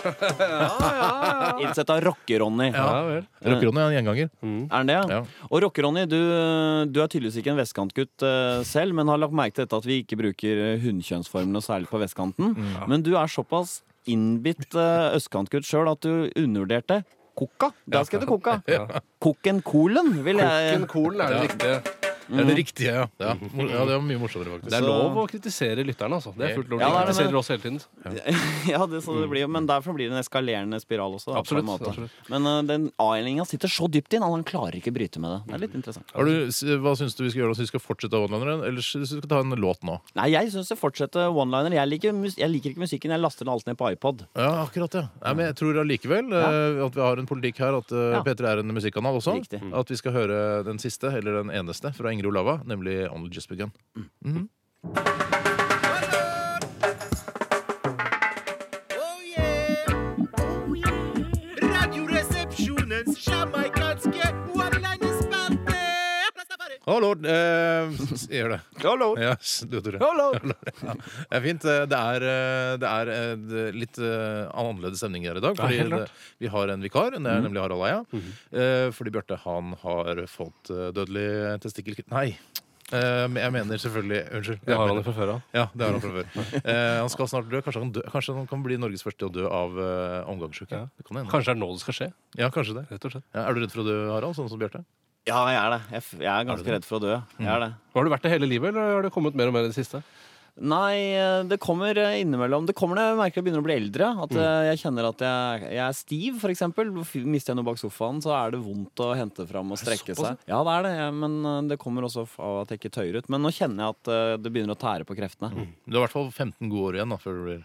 Speaker 3: Innsett av Rocke-Ronny.
Speaker 2: Ja vel.
Speaker 1: Rockeroni er en gjenganger.
Speaker 3: Er den det, ja?
Speaker 1: Ja.
Speaker 3: Og Rocke-Ronny, du, du er tydeligvis ikke en vestkantgutt eh, selv, men har lagt merke til dette at vi ikke bruker eh, hunnkjønnsformen noe særlig på vestkanten.
Speaker 1: Mm.
Speaker 3: Men du er såpass innbitt eh, østkantgutt sjøl at du undervurderte Coca. Der skal du Coca. Coca-Colen, vil jeg
Speaker 2: Coca-Cola er det riktige.
Speaker 1: Det er det riktige, ja. Ja, Mor- ja det var mye morsommere, faktisk.
Speaker 2: Mm. Det er
Speaker 3: Så-
Speaker 2: lov å kritisere lytterne, altså. Det er fullt lov.
Speaker 3: Ja,
Speaker 2: De
Speaker 3: det er det.
Speaker 2: kritiserer oss hele tiden.
Speaker 3: Ja, det, så det blir, jo- men derfor blir det en eskalerende spiral også. Da,
Speaker 2: Absolutt,
Speaker 3: på en måte.
Speaker 2: absolutt.
Speaker 3: Men eh, den A-linja sitter så dypt inn at han klarer ikke å bryte med det. Det er litt interessant.
Speaker 1: Har du, s- hva syns du vi skal gjøre? Syns vi skal fortsette one-lineren, eller syns vi skal ta en låt nå?
Speaker 3: Nei, jeg syns det fortsetter one-liner. Jeg, liker mus- jeg liker ikke musikken. Jeg laster den alt ned på iPod.
Speaker 1: Ja, akkurat, ja. Nei, men jeg tror allikevel eh, at vi har en politikk her at eh,
Speaker 3: Ja.
Speaker 1: P3 er en musikkanal også.
Speaker 3: Riktig. Mm.
Speaker 1: At vi skal høre den siste, eller den eneste, fra Ingrid Olava, nemlig Only Just Begun.
Speaker 3: Mm.
Speaker 1: Mhm.
Speaker 6: Oh yeah. Oh yeah. Radioresepsjonens jamaikanske one-linerspalte.
Speaker 1: Å, lord! Eh, s- gjør det.
Speaker 3: Hallo!
Speaker 1: Ja, s- du, Tore.
Speaker 3: Hallo!
Speaker 1: Det er fint. Eh, Det er, eh, det er eh, det- litt eh, annerledes stemning her i dag. Fordi
Speaker 2: helt klart. Mhm.
Speaker 1: det, vi har en vikar, det er nemlig Harald Eia. Eh, Fordi Bjarte han har fått eh, dødelig testikkel... Nei. Eh, men Jeg mener selvfølgelig Unnskyld.
Speaker 2: Det har han
Speaker 1: Jeg
Speaker 2: jo fra før av.
Speaker 1: mener- ja, det har han fra før. Eh, han skal snart dø. Kanskje han, dø. Kanskje han kan bli Norges første til å dø av eh, omgangssjuke.
Speaker 2: Ja.
Speaker 1: Det kan hende.
Speaker 2: Kanskje det er nå det skal skje.
Speaker 1: Ja, kanskje det.
Speaker 2: rett og slett.
Speaker 1: Ja, er du redd for å dø, Harald? Sånn som Bjarte?
Speaker 3: Ja, jeg er det. Jeg, f- jeg er ganske redd for å dø. Jeg er det.
Speaker 2: Har du vært det hele livet, eller har det kommet mer og mer i det siste?
Speaker 3: Nei, eh, det kommer innimellom. Det kommer når jeg merker jeg begynner å bli eldre. At eh, jeg kjenner at jeg, jeg er stiv, for eksempel. F- Mister jeg noe bak sofaen, så er det vondt å hente fram og strekke seg. Ja, det er det. jeg- Men eh, det kommer også f- av at jeg ikke tøyer ut. Men nå kjenner jeg at eh, det begynner å tære på kreftene.
Speaker 1: Du har i hvert fall 15 gode år igjen da, før du blir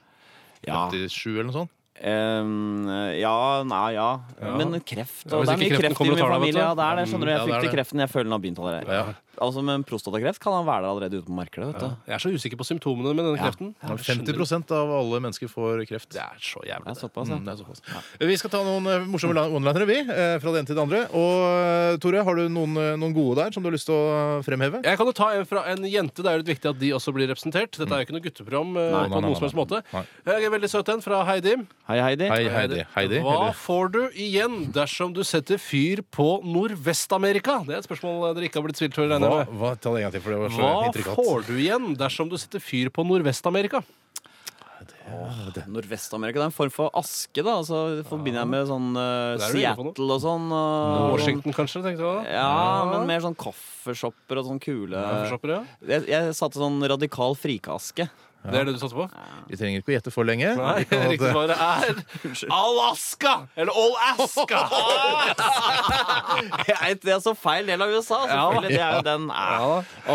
Speaker 3: Ja.
Speaker 1: 57 eller noe sånt.
Speaker 3: Em, eh, ja, nei, ja. Men kreft
Speaker 2: Ja,
Speaker 3: og
Speaker 2: hvis
Speaker 3: Det er mye
Speaker 2: ikke kreften
Speaker 3: kreft i
Speaker 2: kommer,
Speaker 3: min
Speaker 2: tar den, vet du.
Speaker 3: familie. Ja, det er det, skjønner du. Jeg
Speaker 1: Ja, det er
Speaker 3: frykter
Speaker 1: det.
Speaker 3: kreften. Jeg føler den har begynt allerede.
Speaker 1: Ja.
Speaker 3: Altså, men prostatakreft kan han være der allerede ute på markedet. vet du
Speaker 2: Jeg er så usikker på symptomene med denne kreften.
Speaker 1: Ja, 50 av alle mennesker får kreft.
Speaker 2: Det er så
Speaker 3: Det
Speaker 2: jævlig.
Speaker 3: er såpass, ja.
Speaker 1: Mm, det er såpass. Vi skal ta noen eh, morsomme la- one-linere, vi. eh, Fra det ene til det andre. Og eh, Tore, har du noen, eh, noen gode der som du har lyst til å eh, fremheve?
Speaker 2: Jeg kan jo ta en fra en jente. Det er jo litt viktig at de også blir representert. Dette er jo ikke noe gutteprogram. eh,
Speaker 1: Nei, nei,
Speaker 2: på
Speaker 1: nei,
Speaker 2: noen som helst
Speaker 1: nei,
Speaker 2: måte Eh,
Speaker 1: nei.
Speaker 2: Jeg er veldig søt en fra Heidi.
Speaker 3: Hei, Heidi.
Speaker 1: Hei, Heidi. Heidi
Speaker 2: Hva
Speaker 1: eller?
Speaker 2: får du igjen dersom du setter fyr på Nordvest-Amerika? Det er et spørsmål dere ikke har blitt stilt før. regner jeg
Speaker 1: Hva,
Speaker 2: med.
Speaker 1: hva, ta det en gang til, for det var så
Speaker 2: Hva
Speaker 1: intrikat.
Speaker 2: får du igjen dersom du setter fyr på Nordvest-Amerika?
Speaker 3: Nordvest-Amerika. Det er en form for aske, da. Altså, det forbinder jeg med sånn eh,
Speaker 2: Det er du inne på nå.
Speaker 3: Seattle og sånn. og-
Speaker 2: Washington, kanskje? tenkte jeg da.
Speaker 3: Ja, men mer sånn kaffeshopper og sånn kule
Speaker 2: Kaffeshopper, ja.
Speaker 3: Jeg, jeg satte sånn radikal frikaske.
Speaker 2: Det er det du satser på?
Speaker 1: Vi trenger ikke å gjette for lenge.
Speaker 2: Nei,
Speaker 1: Vi kan ha
Speaker 2: riktig
Speaker 1: det-
Speaker 2: svaret er Alaska! Eller Alaska!
Speaker 3: Jeg, det er så feil del av USA, selvfølgelig. Det er jo den eh,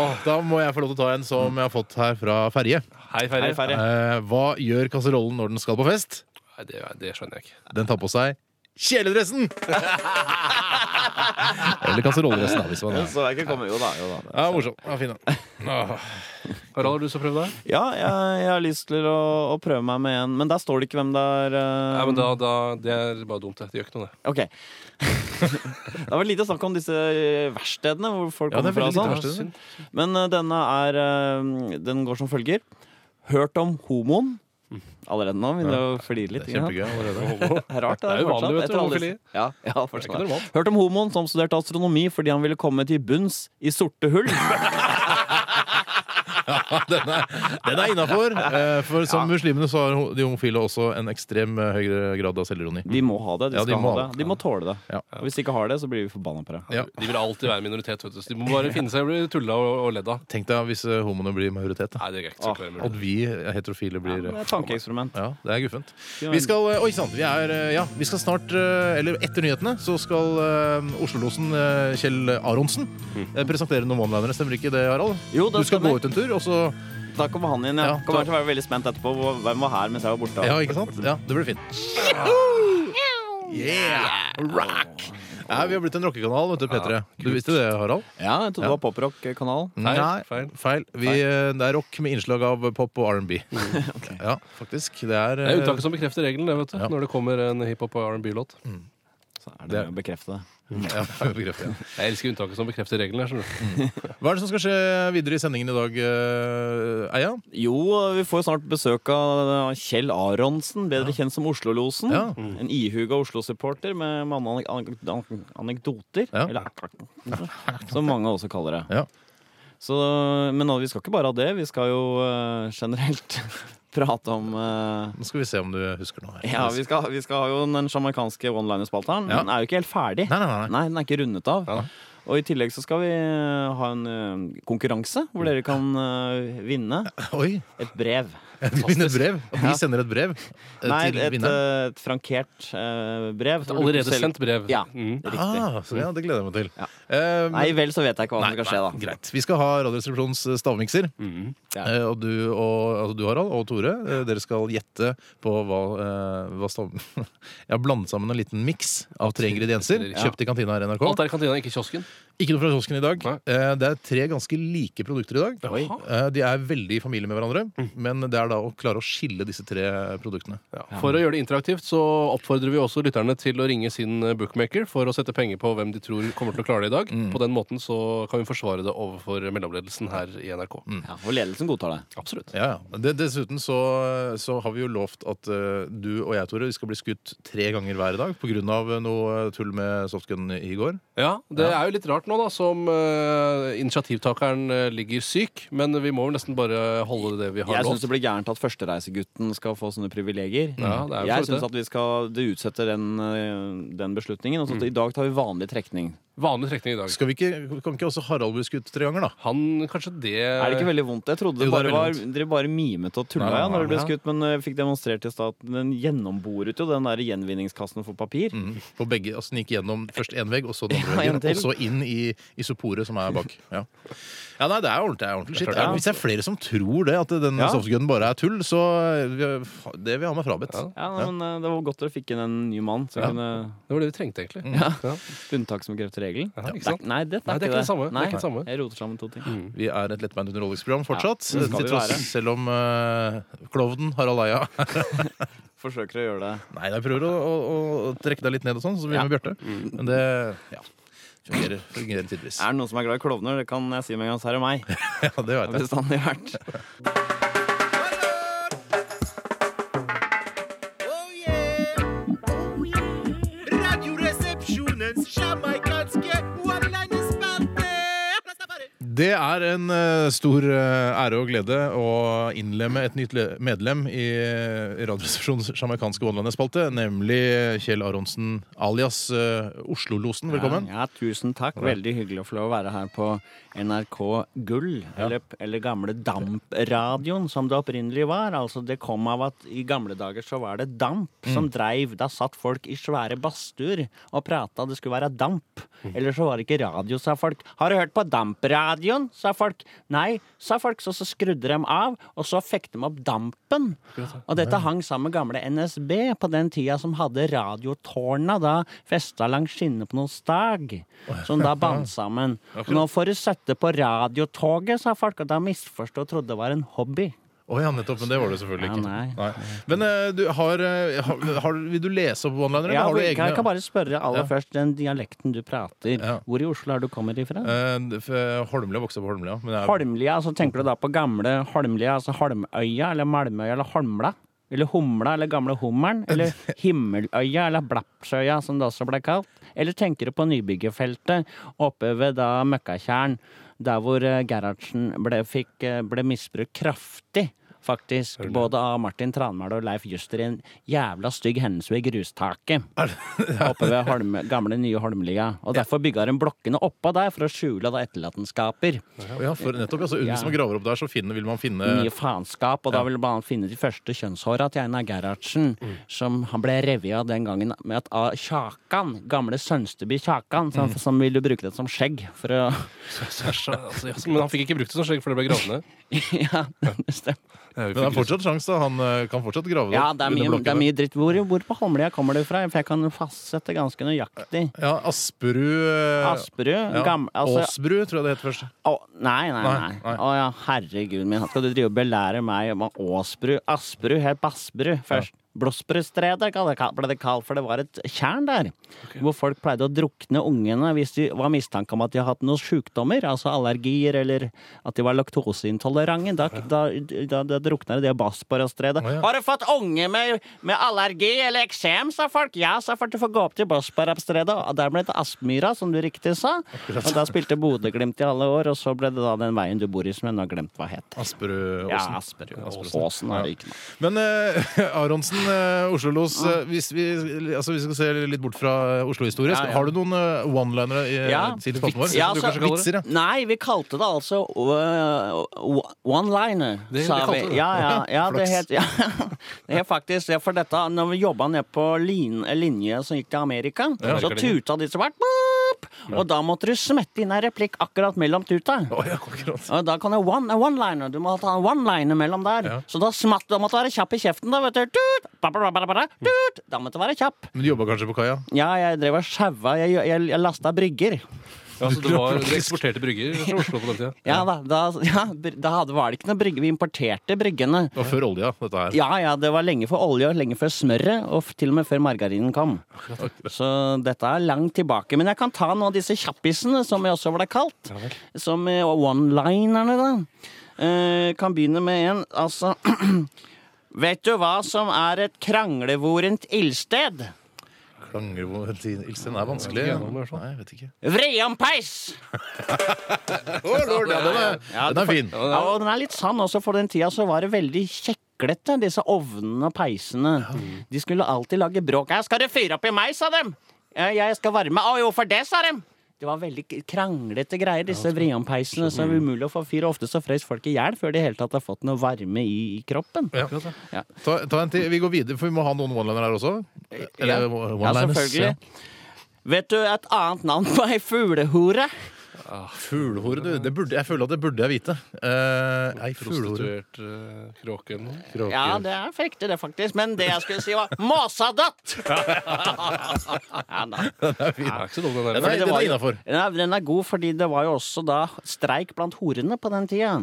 Speaker 1: Åh, da må jeg få lov til å ta en som jeg har fått her fra Ferje.
Speaker 2: Hei, Ferje.
Speaker 3: Hei, Ferje.
Speaker 1: Eh, hva gjør kasserollen når den skal på fest?
Speaker 2: Nei, det, det skjønner jeg ikke.
Speaker 1: Den tar på seg kjeledressen! Eller kasserolledressen, da, hvis man er
Speaker 3: Så jeg kan komme, jo da, jo da.
Speaker 1: ja, morsom. Ja, fin, da.
Speaker 2: Harald, har du lyst til å prøve deg?
Speaker 3: Ja, jeg, jeg har lyst til å, å prøve meg med en, men der står det ikke hvem det er. eh,
Speaker 2: Nei, men da, da, Det er bare dumt. Det Det gjør ikke noe, det.
Speaker 3: Ok. det har vært lite snakk om disse eh, verkstedene hvor folk
Speaker 1: Ja, det er
Speaker 3: kommer fra.
Speaker 1: veldig
Speaker 3: og
Speaker 1: lite
Speaker 3: sånn.
Speaker 1: verksted.
Speaker 3: Men eh, denne er eh, Den går som følger. Hørt om homoen. Allerede nå begynner jeg å flire litt. ikke sant?
Speaker 1: Kjempegøy allerede.
Speaker 3: Det er rart. Det
Speaker 2: Det er
Speaker 3: er
Speaker 2: jo vanlig,
Speaker 3: fortsatt,
Speaker 2: vet du,
Speaker 3: etter alle disse-
Speaker 2: homofili.
Speaker 3: Ja, ja,
Speaker 2: Det er ikke
Speaker 3: fortsatt.
Speaker 2: normalt.
Speaker 3: Hørt om homoen som studerte astronomi fordi han ville komme til bunns i sorte hull.
Speaker 1: Den er, den er innafor. Eh, For som muslimene så har ho- de homofile også en ekstrem eh, høyere grad av selvironi.
Speaker 3: De må ha det. De,
Speaker 1: Ja, de
Speaker 3: skal
Speaker 1: må
Speaker 3: ha
Speaker 1: ha
Speaker 3: det. De må tåle det.
Speaker 1: Ja.
Speaker 3: Og hvis de ikke har det, så blir vi forbanna på det.
Speaker 1: Ja.
Speaker 2: De vil alltid være en minoritet. vet du Så De må bare finne seg i å bli tulla og, og ledd av.
Speaker 1: Tenk deg hvis eh, homoene blir majoritet. Da.
Speaker 2: Nei, det er ikke så
Speaker 3: Ah.
Speaker 2: klart mulig.
Speaker 1: At vi eh, heterofile
Speaker 3: Ja, men
Speaker 1: blir
Speaker 3: Det
Speaker 1: eh,
Speaker 3: er et tankeeksperiment.
Speaker 1: ja, det er guffent. Vi skal, eh, oi sant, vi er, eh, ja, vi skal snart, eh, eller etter nyhetene, så skal eh, Oslo-losen eh, Kjell Aronsen eh, presentere noen one-linere. Stemmer ikke det, Harald?
Speaker 3: Jo, det
Speaker 1: du skal
Speaker 3: stemmer.
Speaker 1: gå ut en tur, og så
Speaker 3: Da kommer han inn.
Speaker 1: Ja,
Speaker 3: Ja. kommer til å være veldig spent etterpå. hvor- Hvem var her mens jeg var borte?
Speaker 1: Ja, ikke sant? Ja, det blir fint. Yeah! Rock! Nei, vi har blitt en rockekanal, vet du, P3. Du visste det, Harald?
Speaker 3: Ja, jeg trodde det var poprock-kanal.
Speaker 2: Feil,
Speaker 1: Nei,
Speaker 2: feil.
Speaker 1: feil. Vi, eh, det er rock med innslag av pop og R&B. Ja, faktisk. Det er,
Speaker 2: Det
Speaker 1: eh,
Speaker 2: er unntaket som bekrefter regelen, det, vet du.
Speaker 1: Ja.
Speaker 2: Når det kommer en hiphop- og R&B-låt.
Speaker 3: Så er det mye å bekrefte det.
Speaker 1: ja, bekrefter jeg.
Speaker 2: Jeg elsker unntaket som bekrefter regelen. jeg skjønner du.
Speaker 1: Hva er det som skal skje videre i sendingen i dag, eh, Eia?
Speaker 3: Jo, vi får snart besøk av Kjell Aronsen, bedre kjent som Oslo-losen.
Speaker 1: Ja.
Speaker 3: En ihuga Oslo-supporter med mange anek anek anekdoter.
Speaker 1: Ja.
Speaker 3: Eller som mange også kaller det.
Speaker 1: Ja.
Speaker 3: Så, men nå, vi skal ikke bare ha det, vi skal jo eh, generelt prate om eh,
Speaker 1: Nå skal vi se om du husker noe. her.
Speaker 3: ja, vi skal, vi skal ha jo den sjamaikanske one-liner-spalteren. men
Speaker 1: Ja.
Speaker 3: Den er jo ikke helt ferdig.
Speaker 1: Nei, nei, nei, nei.
Speaker 3: Nei, den er ikke rundet av. Og i tillegg så skal vi eh, ha en eh, konkurranse hvor dere kan eh, vinne
Speaker 1: Oi!
Speaker 3: et brev.
Speaker 1: Du vinner et brev. Vi sender et brev eh,
Speaker 3: Nei,
Speaker 1: til
Speaker 3: et,
Speaker 1: vinneren.
Speaker 3: eh, et frankert eh, brev.
Speaker 2: Et allerede sendt brev.
Speaker 3: Ja,
Speaker 2: Mm.
Speaker 3: riktig.
Speaker 1: Ah, så ja, det gleder jeg meg til.
Speaker 3: Ja.
Speaker 1: Eh,
Speaker 3: Nei vel, så vet jeg ikke hva som skal skje, da. Mm.
Speaker 1: Greit. Vi skal ha Radioresepsjonens eh, stavmikser.
Speaker 3: Ja.
Speaker 1: Eh, og du, og, altså du, Harald, og Tore, eh, dere skal gjette på hva, eh, hva stav... Jeg har blandet sammen en liten miks av tre ingredienser.
Speaker 2: Ja.
Speaker 1: Kjøpt i kantina her i NRK.
Speaker 2: Alt er i kantina, ikke i kiosken.
Speaker 1: Ikke noe fra kiosken i dag.
Speaker 2: Nei.
Speaker 1: Eh, det er tre ganske like produkter i dag.
Speaker 3: Oi.
Speaker 1: Eh, de er veldig i familie med hverandre, men det er da å klare å skille disse tre produktene.
Speaker 2: For å gjøre det interaktivt så oppfordrer vi også lytterne til å ringe sin eh, bookmaker for å sette penger på hvem de tror kommer til å klare det i dag. På den måten så kan vi forsvare det overfor mellomledelsen her i NRK.
Speaker 3: Ja, for ledelsen godtar det.
Speaker 2: Absolutt.
Speaker 1: Ja, ja. Det- Dessuten så, så har vi jo lovt at eh, du og jeg, Tore, vi skal bli skutt tre ganger hver i dag pga. noe tull med softgun i går.
Speaker 2: Ja, Det er jo litt rart nå, da, som eh, initiativtakeren eh, ligger syk. Men vi må vel nesten bare holde det vi har
Speaker 3: Jeg syns
Speaker 2: lovt.
Speaker 3: det blir gærent at førstereisegutten skal få sånne privilegier.
Speaker 2: Ja, det er jo for
Speaker 3: jeg
Speaker 2: så vidt
Speaker 3: syns at vi skal det utsetter den, eh, den beslutningen.
Speaker 2: Mm.
Speaker 3: Og så i dag tar vi vanlig trekning.
Speaker 2: Vanlig trekning i dag.
Speaker 1: Skal vi ikke, kan ikke også Harald bli skutt tre ganger, da?
Speaker 2: Han kanskje det
Speaker 3: Er det ikke veldig vondt? Jeg trodde
Speaker 1: Jo, det
Speaker 3: det
Speaker 1: er
Speaker 3: bare
Speaker 1: veldig
Speaker 3: var, dere bare mimet og tulla
Speaker 1: Nei, nei,
Speaker 3: ja, når det ble
Speaker 2: nei.
Speaker 3: skutt, men jeg fikk demonstrert i stad at den gjennomboret jo den der gjenvinningskassen for papir.
Speaker 2: Mm.
Speaker 1: På begge, altså Den gikk gjennom først én vegg, og så den
Speaker 3: Ja,
Speaker 1: andre
Speaker 3: en
Speaker 1: veggen.
Speaker 3: til.
Speaker 1: Og så inn i isoporet som er bak. Ja, ja nei, det er ordentlig, det er ordentlig shit.
Speaker 2: klart det er.
Speaker 1: Hvis det er flere som tror det, at den
Speaker 3: Ja.
Speaker 1: softgunen bare er tull, så eh, det vil jeg ha meg frabedt.
Speaker 2: Ja.
Speaker 3: Ja, nei, men eh, Det var godt dere fikk inn en ny mann som
Speaker 2: Ja.
Speaker 3: kunne
Speaker 2: Det var det vi trengte, egentlig. Ja.
Speaker 3: unntak som krefter regelen.
Speaker 2: Ja, ikke
Speaker 3: Det er-
Speaker 2: sant?
Speaker 3: Nei, dette er,
Speaker 2: Nei, det er ikke det samme. Det er
Speaker 3: Nei,
Speaker 2: ikke det samme. Mm.
Speaker 3: Jeg roter sammen to ting.
Speaker 1: Vi er et lettbeint underholdningsprogram fortsatt. eh,
Speaker 3: Ja, det skal
Speaker 1: til
Speaker 3: vi
Speaker 1: tross
Speaker 3: være.
Speaker 1: selv om uh, klovnen Harald Eia
Speaker 3: Forsøker å gjøre det.
Speaker 1: Nei, jeg prøver å, å, å trekke deg litt ned og sånn, som vi gjør med
Speaker 3: Mm.
Speaker 1: Bjarte. Men det ja, fungerer, fungerer tidvis.
Speaker 3: Er det noen som er glad i klovner? Det kan jeg si med en gang, så er det meg. Det
Speaker 1: Ja, det
Speaker 3: har
Speaker 1: vet jeg.
Speaker 3: bestandig vært.
Speaker 6: Oh yeah! Oh yeah! Radioresepsjonens sjamaikanske one-liner-spalte!
Speaker 1: Det er en eh, stor eh, ære og glede å innlemme et nytt le- medlem i eh, Radioresepsjonens jamaicanske Wonderlandet-spalte, nemlig Kjell Aronsen alias eh, Oslo-losen. Velkommen.
Speaker 3: Ja, ja, tusen takk. Veldig hyggelig å få lov å være her på NRK Gull, eller, eller gamle Damp-radioen, som det opprinnelig var. Altså, det kom av at i gamle dager så var det damp som dreiv. Da satt folk i svære badstuer og prata, det skulle være damp. Eller så var det ikke radio, sa folk. Har du hørt på Damp-radioen, sa folk. Nei, sa folk, så, så skrudde de av, og så fikk de opp dampen. Og dette hang sammen med gamle NSB på den tida som hadde radiotårna da festa langs skinnene på noen stag, som da bandt sammen. Nå får du sette på radiotoget, sa folk, og da misforstod og trodde det var en hobby.
Speaker 1: Å ja, nettopp. Men det var det selvfølgelig
Speaker 3: Ja,
Speaker 1: ikke.
Speaker 3: nei.
Speaker 1: Men eh, du har, eh, har, har Vil du lese opp one-liner,
Speaker 3: Ja,
Speaker 1: eller har du
Speaker 3: jeg
Speaker 1: egne?
Speaker 3: kan bare spørre aller først den dialekten du prater.
Speaker 1: Ja.
Speaker 3: Hvor i Oslo er du kommer ifra?
Speaker 1: Eh, f- Holmlia vokste opp på Holmlia. Men jeg,
Speaker 3: Holmlia, altså tenker du da på gamle Holmlia, altså Holmøya eller Malmøya eller Holmla? Eller Humla eller Gamle Hummeren? Eller Himmeløya eller Blapsøya, som det også ble kalt? Eller tenker du på nybyggerfeltet oppe ved da Møkkatjern, der hvor eh, Gerhardsen ble, fikk, eh, ble misbrukt kraftig? Faktisk, både av Martin Tranmæl og Leif Juster i en jævla stygg hendelse ved grustaket. Oppe ved Holme, gamle, nye Holmlia. Og derfor bygga de blokkene oppå der for å skjule da etterlatenskaper
Speaker 1: ja, for nettopp, altså, Hvis man graver opp der, så finner, vil man finne
Speaker 3: mye faenskap, og da vil man finne de første kjønnshåra til Einar Gerhardsen,
Speaker 1: Mm.
Speaker 3: som han ble revet av den gangen med at av Kjakan, gamle Sønsteby Kjakan, som,
Speaker 1: Mm.
Speaker 3: som ville bruke det som skjegg for å
Speaker 2: Sasha, altså, ja, Men han fikk ikke brukt det som skjegg, for det ble gravd ned.
Speaker 3: Ja, det stemmer.
Speaker 2: Det er jo
Speaker 1: Men det er
Speaker 2: fryktelig.
Speaker 1: fortsatt sjans, da. Han eh, kan fortsatt grave det
Speaker 3: Ja,
Speaker 1: opp
Speaker 3: det er
Speaker 1: under
Speaker 3: mye, det er
Speaker 1: blokkene.
Speaker 3: mye dritt. Hvor, hvor på Holmlia kommer du fra? For jeg kan fastsette ganske nøyaktig.
Speaker 1: Ja, Asperud eh,
Speaker 3: Asperud?
Speaker 1: ja.
Speaker 3: Gam, altså,
Speaker 1: Åsbru, tror jeg det heter først.
Speaker 3: Å, nei, nei,
Speaker 1: Nei,
Speaker 3: nei.
Speaker 1: nei.
Speaker 3: Å ja, herregud min. Skal du drive og belære meg om Åsbru? Asbru, helt Bassbru først. Blåsbrustredet ble det kalt- ble det kalt, for det var et tjern der. Hvor folk pleide å drukne ungene hvis de var mistanke om at de hadde noen sykdommer, altså allergier eller at de var laktoseintolerante. Da, da, da, da drukna de i Bassborastredet.
Speaker 1: Å, ja.
Speaker 3: Har du fått unge med, med allergi eller eksem, sa folk. Ja, sa folk. Du får gå opp til Bassborastredet. Og der ble det Aspmyra, som du riktig sa. Og da spilte Bodø-Glimt i alle år, og så ble det da den veien du bor i, som jeg nå har glemt hva het.
Speaker 1: Asperud
Speaker 3: Ja,
Speaker 1: Åsen.
Speaker 3: Asperud. Åsen er det ikke noe.
Speaker 1: Men eh, Aronsen, eh, Oslo-los, eh, hvis, vi, altså, hvis vi skal se litt bort fra eh, Oslo-historie,
Speaker 3: Ja, ja.
Speaker 1: har du noen eh, one-linere i
Speaker 3: Ja.
Speaker 1: til spalten vår?
Speaker 3: Ja,
Speaker 1: Du
Speaker 3: altså,
Speaker 1: kanskje kaller det?
Speaker 3: Nei, vi kalte det altså øh, one-liner,
Speaker 2: Det-
Speaker 3: sa
Speaker 2: det kalte
Speaker 3: vi.
Speaker 2: det.
Speaker 3: Ja, ja, ja, det
Speaker 1: Flaks.
Speaker 3: het ja. Det het faktisk det, for dette Når vi jobba nede på lin, linje som gikk til Amerika,
Speaker 2: Ja.
Speaker 3: så tuta de så hvert boop, Og da måtte du smette inn en replikk akkurat mellom tuta.
Speaker 1: Å, ja, akkurat.
Speaker 3: Og da kan det one- eh, one-liner. du må ta en one-liner mellom der. Så da smatt da måtte du være kjapp i kjeften. Da vet du. Tut, ba, ba, ba, ba, ba, tut. Da måtte du være kjapp.
Speaker 1: Men du jobba kanskje på kaia?
Speaker 3: Ja, jeg drev og sjaua. Jeg, jeg, jeg lasta brygger.
Speaker 2: Ja, så altså, det var, Dere eksporterte brygger fra Oslo på den tida?
Speaker 3: Ja, da, da, ja, br- da hadde, var det ikke noe brygge. Vi importerte bryggene.
Speaker 1: Det var før olja, dette her.
Speaker 3: Ja, ja, det var lenge før olje, lenge før smøret, og f- til og med før margarinen kom. Så dette er langt tilbake. Men jeg kan ta noen av disse kjappisene, som jeg også ble kalt. Som eh, one-linerne, da. Eh, kan begynne med en, altså Vet du hva som er et kranglevorent ildsted?
Speaker 1: Klangrevo- Ilsen er vanskelig.
Speaker 2: Ja,
Speaker 1: Nei, jeg vet ikke.
Speaker 3: Vreompeis!
Speaker 1: Å, lord, ja, den er,
Speaker 3: Ja,
Speaker 1: den er fin.
Speaker 3: Ja, og den er litt sann også. For den tida så var det veldig kjeklete, disse ovnene og peisene. De skulle alltid lage bråk. «Ja, 'Skal du fyre opp i meg', sa dem. «Ja, 'Jeg skal varme'. 'Å, jo, for det', sa dem. Det var veldig k- kranglete greier, disse vrianpeisene. Så det var umulig å få fyr. og Ofte så frøs folk i hjel før de i hele tatt har fått noe varme i, i kroppen.
Speaker 1: Ja.
Speaker 3: Ja.
Speaker 1: Ta, ta en til. Vi går videre, for vi må ha noen one-liner her også. Eller eh,
Speaker 3: Ja. Ja,
Speaker 1: one-liners.
Speaker 3: selvfølgelig. Vet du et annet navn på ei fuglehore?
Speaker 1: Fuglehore, du. Det burde, jeg føler at det burde jeg vite. Uh, ei fuglehore.
Speaker 2: Prostituert eh, kråke eller noe?
Speaker 3: Ja, det er fekte, det, faktisk. Men det jeg skulle si, var måsadott! ja, da.
Speaker 2: Det er ikke så dum, den
Speaker 1: Nei,
Speaker 2: der.
Speaker 3: Fordi det
Speaker 1: den
Speaker 3: var
Speaker 1: er
Speaker 3: jo-
Speaker 1: innafor.
Speaker 3: Ja, Den er god, fordi det var jo også da streik blant horene på den tida.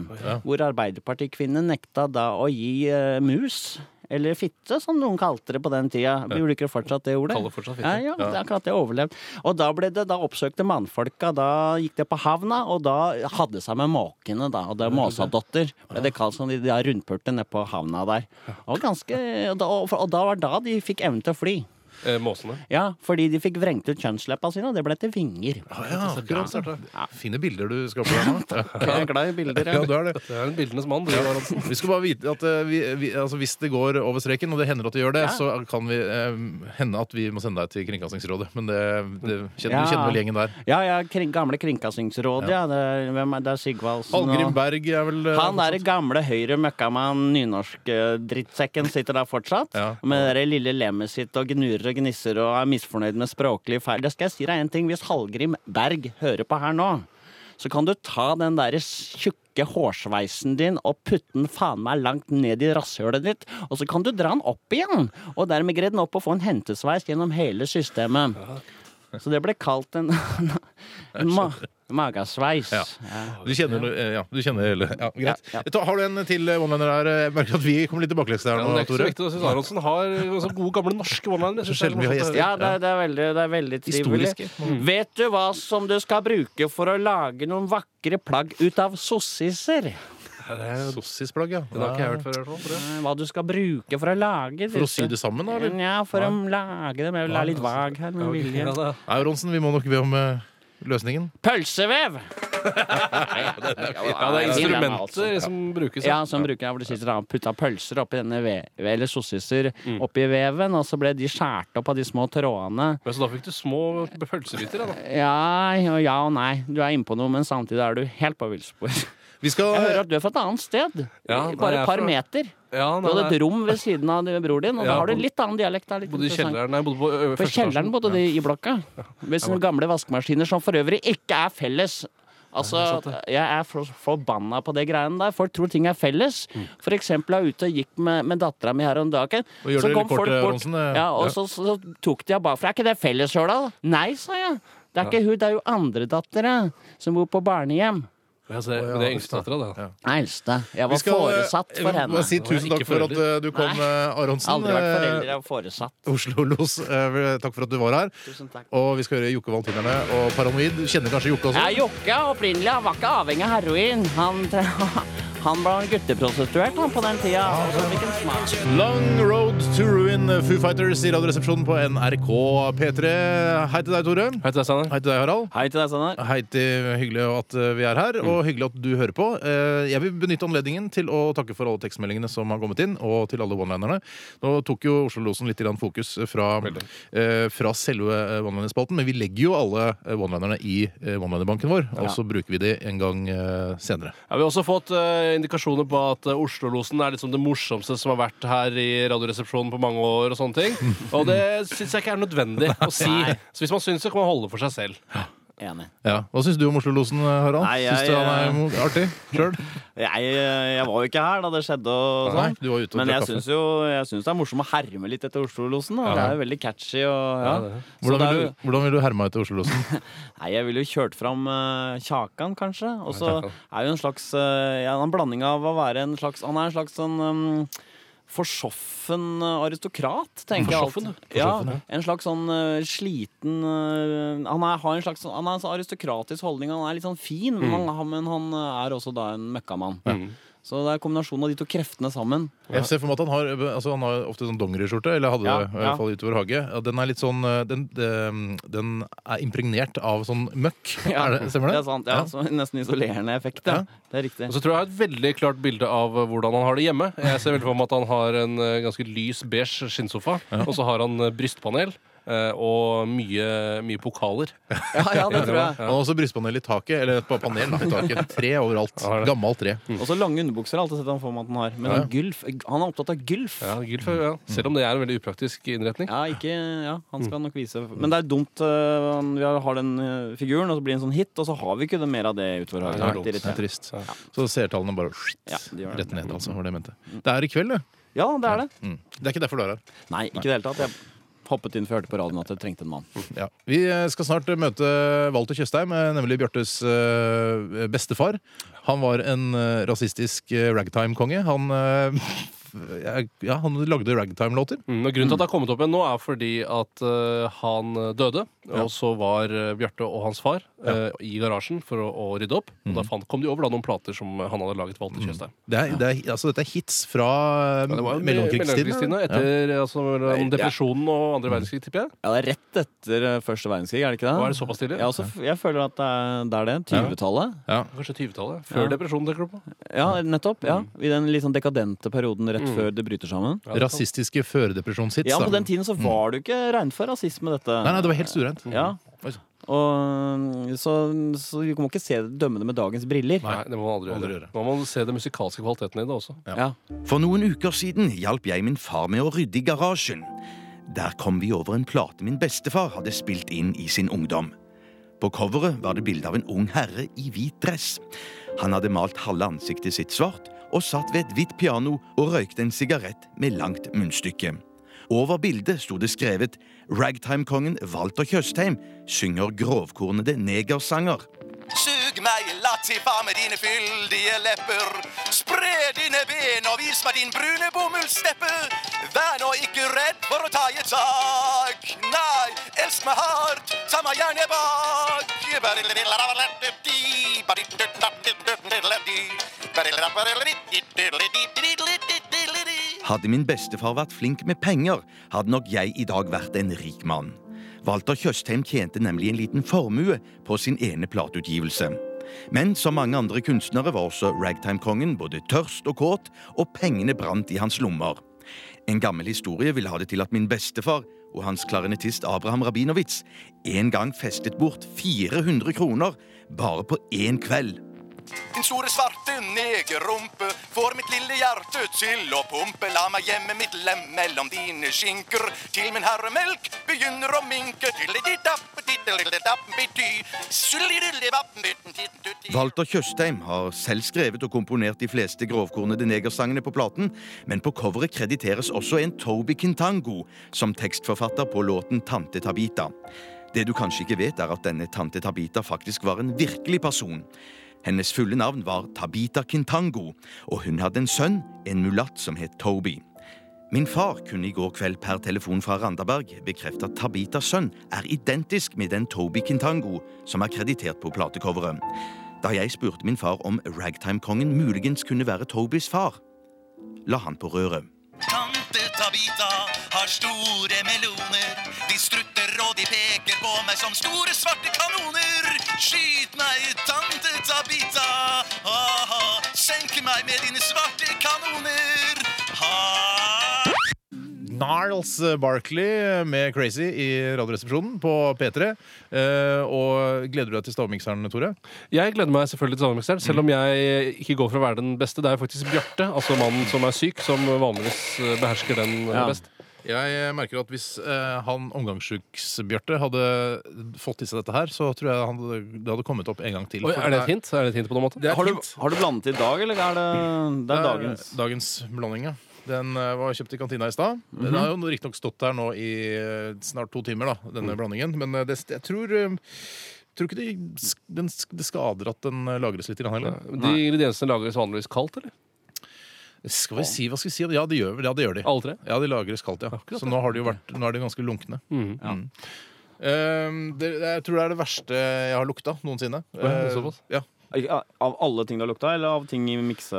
Speaker 3: Hvor Arbeiderpartikvinnen nekta da å gi eh, mus. Eller fitte, som noen kalte det på den tida. Vi bruker fortsatt det ordet.
Speaker 2: Kaller fortsatt fitte.
Speaker 3: Ja, ja, det er akkurat det jeg overlevde. Og da ble det, da oppsøkte mannfolka, da gikk det på havna, og da hadde seg med måkene, da. Og det er måsadotter, ble det kalt som de, de rundpurte nede på havna der. Og ganske, og da, og da var da de fikk evnen til å fly.
Speaker 2: Eh, måsene.
Speaker 3: Ja, fordi de fikk vrengt ut kjønnsleppa sine, og det ble til vinger.
Speaker 1: Ja, akkurat startet. Fine bilder du skaper deg nå. Ja.
Speaker 3: Jeg er glad i bilder.
Speaker 1: Ja,
Speaker 3: jeg.
Speaker 1: du er det.
Speaker 2: Det er en bildenes mann. Du, Aronsen.
Speaker 1: Vi skal bare vite at eh, vi, vi, altså hvis det går over streken, og det hender at det gjør det, så kan vi eh, hende at vi må sende deg til Kringkastingsrådet. Men det, det kjenner,
Speaker 3: Ja.
Speaker 1: du kjenner vel gjengen der.
Speaker 3: Ja, ja, kring, gamle Kringkastingsrådet, ja. Det er, hvem er, det er Sigvaldsen
Speaker 1: Hallgrim
Speaker 3: og
Speaker 1: Berg er vel eh,
Speaker 3: han der gamle høyre møkkamann, nynorsk-drittsekken, sitter der fortsatt.
Speaker 1: Ja.
Speaker 3: Med det der lille lemmet sitt og gnurer og gnisser og er misfornøyd med språklig feil. Det skal jeg si deg en ting, Hvis Hallgrim Berg hører på her nå, så kan du ta den derre tjukke hårsveisen din og putte den faen meg langt ned i rasshølet ditt, og så kan du dra den opp igjen! Og dermed greide den opp og få en hentesveis gjennom hele systemet. Så det ble kalt en, en ma magasveis.
Speaker 1: Ja.
Speaker 3: Ja.
Speaker 1: Du kjenner, eh, ja, du kjenner hele ja, Greit.
Speaker 3: Ja, ja.
Speaker 1: Ta, har du en til eh, one-liner her? Jeg merker at vi kommer litt tilbakeleks der
Speaker 2: Ja,
Speaker 1: nå,
Speaker 2: men det er ikke så
Speaker 1: Tore.
Speaker 2: viktig. Jeg synes Aronsen har så gode, gamle norske one-linere. Jeg synes det er
Speaker 1: Sjelden
Speaker 2: sånn
Speaker 1: vi har
Speaker 2: morsomt å
Speaker 1: gjester.
Speaker 2: høre.
Speaker 3: Ja, det, er- det er veldig, det er veldig trivelig.
Speaker 1: Historiske.
Speaker 3: Vet du hva som du skal bruke for å lage noen vakre plagg ut av sossiser?
Speaker 1: Sossisplagg, ja.
Speaker 2: Den har ikke jeg hørt før. i hvert fall, tror jeg.
Speaker 3: Hva du skal bruke for å lage
Speaker 1: For å
Speaker 3: disse-
Speaker 1: sy det sammen, da? Eller?
Speaker 3: Ja, for å lage dem. Jeg vil være litt vag her med
Speaker 2: Ja,
Speaker 3: vilje.
Speaker 2: det er-
Speaker 1: Nei, Ronsen, vi må nok be om eh, løsningen.
Speaker 3: Pølsevev!
Speaker 2: Ja, det er altså- instrumenter som brukes.
Speaker 3: Ja, som bruker jeg, hvor de sitter da og putta pølser oppi denne ve eller sossiser oppi veven, og så ble de skåret opp av de små trådene.
Speaker 2: Men Så da fikk du små pølsebiter? ja, Da.
Speaker 3: Ja og ja og nei. Du er inne på noe, men samtidig er du helt på villspor.
Speaker 1: Vi skal
Speaker 3: Jeg hører at du er fra et annet sted.
Speaker 2: Ja, nei, jeg
Speaker 3: Bare
Speaker 2: er
Speaker 3: et par
Speaker 2: fra-
Speaker 3: meter.
Speaker 2: Ja,
Speaker 3: Du hadde et rom ved siden av din bror din, og
Speaker 2: Ja,
Speaker 3: da har du
Speaker 2: bodde-
Speaker 3: litt annen dialekt. Det er litt
Speaker 2: Bodde i
Speaker 3: interessant.
Speaker 2: kjelleren. Nei, bodde på ø,
Speaker 3: På
Speaker 2: første
Speaker 3: kjelleren
Speaker 2: etasjen.
Speaker 3: bodde de i blokka. Med sine gamle vaskemaskiner, som for øvrig ikke er felles. Altså, Jeg er for- forbanna på det greiene der. Folk tror ting er felles.
Speaker 2: Mm.
Speaker 3: For eksempel jeg var ute og gikk med, med dattera mi her om dagen.
Speaker 1: Og gjør
Speaker 3: så
Speaker 1: det litt
Speaker 3: kom
Speaker 1: kort,
Speaker 3: folk bort,
Speaker 2: sånn,
Speaker 1: Ronsen, eh,
Speaker 3: ja, og
Speaker 1: ja.
Speaker 3: Så, så tok de henne bakfra. Er ikke det felleshøla? da?» Nei, sa jeg. Det er ikke hun, det er jo andredattera som bor på barnehjem.
Speaker 2: Ja, så det, men det er yngste dattera, det. da.
Speaker 3: Nei, Eldste. Jeg var
Speaker 1: vi skal, eh,
Speaker 3: foresatt for
Speaker 1: Jeg vil
Speaker 3: henne.
Speaker 1: bare si tusen
Speaker 2: Ikke
Speaker 1: takk for at
Speaker 2: forelder.
Speaker 1: eh, du kom,
Speaker 3: Nei.
Speaker 1: eh, Aronsen.
Speaker 3: Aldri vært
Speaker 1: eh,
Speaker 3: forelder, jeg var foresatt.
Speaker 1: Oslo-los. eh, Takk for at du var her.
Speaker 3: Tusen takk.
Speaker 1: Og vi skal høre Jokke Valentinerne og Paranoid. Du Kjenner kanskje Jokke også?
Speaker 3: Ja, Jokke opprinnelig han var ikke avhengig av heroin. Han, han ble gutteprostituert han, på den tida. Og
Speaker 1: altså.
Speaker 3: så fikk han smak.
Speaker 1: Long Road to Ruin, Foo Fighters i Radioresepsjonen på NRK P3. Hei til deg, Tore.
Speaker 2: Hei til deg, Steinar.
Speaker 1: Hei til deg, Harald.
Speaker 3: Hei til deg, Steinar.
Speaker 1: Hei til Hyggelig at eh, vi er her,
Speaker 3: Mm.
Speaker 1: og hyggelig at du hører på. Eh, Jeg vil benytte anledningen til å takke for alle tekstmeldingene som har kommet inn, og til alle one-linerne. Nå tok jo Oslo-losen litt grann fokus fra, eh, fra selve eh, one-linerspalten, men vi legger jo alle eh, one-linerne i eh, one-linerbanken vår, og så bruker vi de en gang eh, senere.
Speaker 2: Ja, vi har også fått eh, indikasjoner på at eh, Oslo-losen er liksom det morsomste som har vært her i Radioresepsjonen på mange år. Og sånne ting Og det syns jeg ikke er nødvendig å si. Så hvis man syns det, kan man holde for seg selv.
Speaker 3: Enig.
Speaker 1: Ja. Hva syns du om Oslo-losen, eh, Harald?
Speaker 3: Nei, jeg-
Speaker 1: Syns du han er mo- artig sjøl?
Speaker 3: Jeg, eh, jeg var jo ikke her da det skjedde, og
Speaker 1: Nei,
Speaker 3: sånn.
Speaker 1: du var ute og
Speaker 3: Men
Speaker 1: drakk
Speaker 3: jeg
Speaker 1: kaffe.
Speaker 3: syns jo jeg synes det er morsomt å herme litt etter Oslo-losen. da. Det er jo veldig catchy. Og, ja. Så
Speaker 1: Hvordan
Speaker 3: det er
Speaker 1: vil
Speaker 3: jo-
Speaker 1: du, hvordan vil du herme etter Oslo-losen?
Speaker 3: Nei, jeg ville jo kjørt fram eh, Kjakan, kanskje. Og så er jo en slags eh, ja, en blanding av å være en slags Han er en slags sånn um, forsoffen aristokrat, tenker
Speaker 2: Forsoffen,
Speaker 3: jeg. Alltid. Ja, en slags sånn eh, sliten eh, han, er, har en slags, han er en sånn aristokratisk holdning. Han er litt sånn fin, men, han, men han eh, er også da en møkkamann. Så det er kombinasjonen av de to kreftene sammen.
Speaker 1: Jeg ser for meg at han har, altså han har ofte sånn dongeriskjorte, eller hadde
Speaker 3: Ja,
Speaker 1: det i
Speaker 3: ja.
Speaker 1: hvert fall utover hage. Ja, Den er litt sånn eh, Den, den- den er impregnert av sånn møkk.
Speaker 3: Ja,
Speaker 1: Er det, stemmer det?
Speaker 3: Det er sant, ja, så Nesten isolerende effekt. Ja.
Speaker 1: Ja.
Speaker 3: Det er riktig.
Speaker 2: Og så tror jeg jeg har et veldig klart bilde av eh, hvordan han har det hjemme. Jeg ser veldig for meg at han har en eh, ganske lys beige skinnsofa, og så har han eh, brystpanel eh, og mye, mye pokaler.
Speaker 3: Ja, ja, det tror jeg.
Speaker 1: Han har også brystpanel i taket, eller et par panel da, i taket. Tre overalt.
Speaker 2: har det.
Speaker 1: Gammelt tre.
Speaker 3: Og så lange underbukser har jeg alltid sett han for meg at han har. Men
Speaker 1: Ja, ja.
Speaker 3: en gylf, han er opptatt av gylf.
Speaker 2: Ja, gylf, ja. Selv om det er en veldig upraktisk innretning.
Speaker 3: Ja, ikke, ja, han skal nok vise Men det er dumt. øh, han- Vi har- har den øh, figuren, og så blir det en sånn hit, og så har vi ikke det mer av det utover
Speaker 2: Nei,
Speaker 3: hagen.
Speaker 2: det er
Speaker 1: Det er
Speaker 3: Det er irriterende.
Speaker 1: trist. Så seertallene bare skitt,
Speaker 3: Ja, de gjør det. Mm.
Speaker 1: rett ned, altså. Var det jeg mente. Det er i kveld, det.
Speaker 3: Ja, det er det.
Speaker 1: Mm. Det er ikke derfor du er her.
Speaker 3: Nei, ikke i det hele tatt. Jeg hoppet inn for jeg hørte på radioen at jeg trengte en mann.
Speaker 1: Ja. Vi eh, skal snart eh, møte Walter Tjøstheim, eh, nemlig Bjartes eh, bestefar. Han var en eh, rasistisk eh, ragtime-konge. Han eh, jeg, Ja, han lagde ragtime-låter.
Speaker 2: Mm, og grunnen til at det har kommet opp igjen nå, er fordi at eh, han døde. Og så var eh, Bjarte og hans far eh, i garasjen for å, å rydde opp. Og da fant, kom de over da, noen plater som han hadde laget Walter Tjøstheim.
Speaker 1: Det er, det er, altså, dette er hits fra
Speaker 2: Det var jo
Speaker 1: mellomkrigstiden.
Speaker 2: Mm. mellomkrigstiden, Etter altså, om depresjonen og andre verdenskrig, tipper jeg.
Speaker 3: Ja, det er rett etter eh, første verdenskrig, er det ikke det?
Speaker 2: Var det såpass tidlig?
Speaker 3: Ja, altså, f- jeg føler at det er, det er det. 20-tallet.
Speaker 2: Kanskje 20-tallet. Før depresjonen tenker du på.
Speaker 3: Ja, nettopp. ja. I den litt sånn dekadente perioden rett før det bryter sammen.
Speaker 1: Ja. Rasistiske førdepresjonshits.
Speaker 3: Ja,
Speaker 1: da.
Speaker 3: På den tiden så var det jo ikke regnet for rasisme, dette.
Speaker 1: Nei, nei, det var helt stuereint.
Speaker 3: Ja.
Speaker 1: Oi.
Speaker 3: Og, så, så vi må ikke se det dømmende med dagens briller.
Speaker 2: Nei, det må man aldri,
Speaker 1: Aldri
Speaker 2: gjøre.
Speaker 1: gjøre.
Speaker 2: Nå må man se den musikalske kvaliteten i det også.
Speaker 3: Ja.
Speaker 7: For noen uker siden hjalp jeg min far med å rydde i garasjen. Der kom vi over en plate min bestefar hadde spilt inn i sin ungdom. På coveret var det bilde av en ung herre i hvit dress. Han hadde malt halve ansiktet sitt svart og satt ved et hvitt piano og røykte en sigarett med langt munnstykke. Over bildet sto det skrevet Ragtime-kongen Walter Tjøstheim synger grovkornede negersanger. Sug meg latifa med dine fyldige lepper. Spre dine ben og vis meg din brune bomullssteppe. Vær nå ikke redd for å ta i et tak. Nei, elsk meg hardt, ta meg gjerne bak. Hadde min bestefar vært flink med penger, hadde nok jeg i dag vært en rik mann. Walter Tjøstheim tjente nemlig en liten formue på sin ene plateutgivelse. Men som mange andre kunstnere var også ragtime-kongen både tørst og kåt, og pengene brant i hans lommer. En gammel historie vil ha det til at min bestefar og hans klarinettist Abraham Rabinowitz en gang festet bort 400 kroner bare på én kveld. Din store svarte negerrumpe får mitt lille hjerte til å pumpe. La meg gjemme mitt lem mellom dine skinker til min herremelk begynner å minke. Walter Tjøstheim har selv skrevet og komponert de fleste grovkornede negersangene på platen, men på coveret krediteres også en Toby Kintango som tekstforfatter på låten Tante Tabita. Det du kanskje ikke vet, er at denne tante Tabita faktisk var en virkelig person. Hennes fulle navn var Tabita Kintango, og hun hadde en sønn, en mulatt som het Toby. Min far kunne i går kveld per telefon fra Randaberg bekrefte at Tabitas sønn er identisk med den Toby Kintango som er kreditert på platecoveret. Da jeg spurte min far om ragtime-kongen muligens kunne være Tobys far, la han på røret.
Speaker 8: Tante Tabita har store meloner. De strutter og de peker på meg som store svarte kanoner. Skyt meg, tante Tabita. Aha, senk meg med dine svarte kanoner. Ha.
Speaker 1: Narls eh, Barkley med Crazy i Radioresepsjonen på P3. Eh, og gleder du deg til stavmikseren, Tore?
Speaker 2: Jeg gleder meg selvfølgelig til Stavmikseren, selv om jeg ikke går for å være den beste. Det er faktisk Bjarte, altså mannen som er syk, som vanligvis eh, behersker den eh,
Speaker 3: Ja.
Speaker 2: best.
Speaker 1: Jeg merker at hvis eh, han omgangssjuks-Bjarte hadde fått i seg dette her, så tror jeg han hadde, det hadde kommet opp en gang til.
Speaker 2: Oi,
Speaker 1: For
Speaker 2: er det et hint? Er det et hint på noen måte?
Speaker 1: Det er
Speaker 2: Har
Speaker 1: et
Speaker 2: du-
Speaker 1: hint.
Speaker 3: Har du blandet i dag, eller er det, det er dagens?
Speaker 1: Eh, dagens blanding, ja. Den eh, var kjøpt i kantina i stad. Den har jo riktignok stått der nå i eh, snart to timer, da, denne blandingen. Men eh, det, jeg tror, eh, tror ikke det, den, det skader at den eh, lagres litt. grann heller.
Speaker 2: De ingrediensene lagres vanligvis kaldt, eller?
Speaker 1: Skal vi si hva skal vi si? Ja, det gjør, ja, det gjør de.
Speaker 2: Alle tre?
Speaker 1: Ja, de lagres kaldt, ja. Så nå, har de jo vært, nå er de ganske lunkne. Mm. Eh, det, jeg tror det er det verste jeg har lukta noensinne.
Speaker 2: ja, det er
Speaker 1: Eh,
Speaker 2: såpass.
Speaker 1: ja.
Speaker 3: Av alle ting du har lukta, eller av ting i mikse...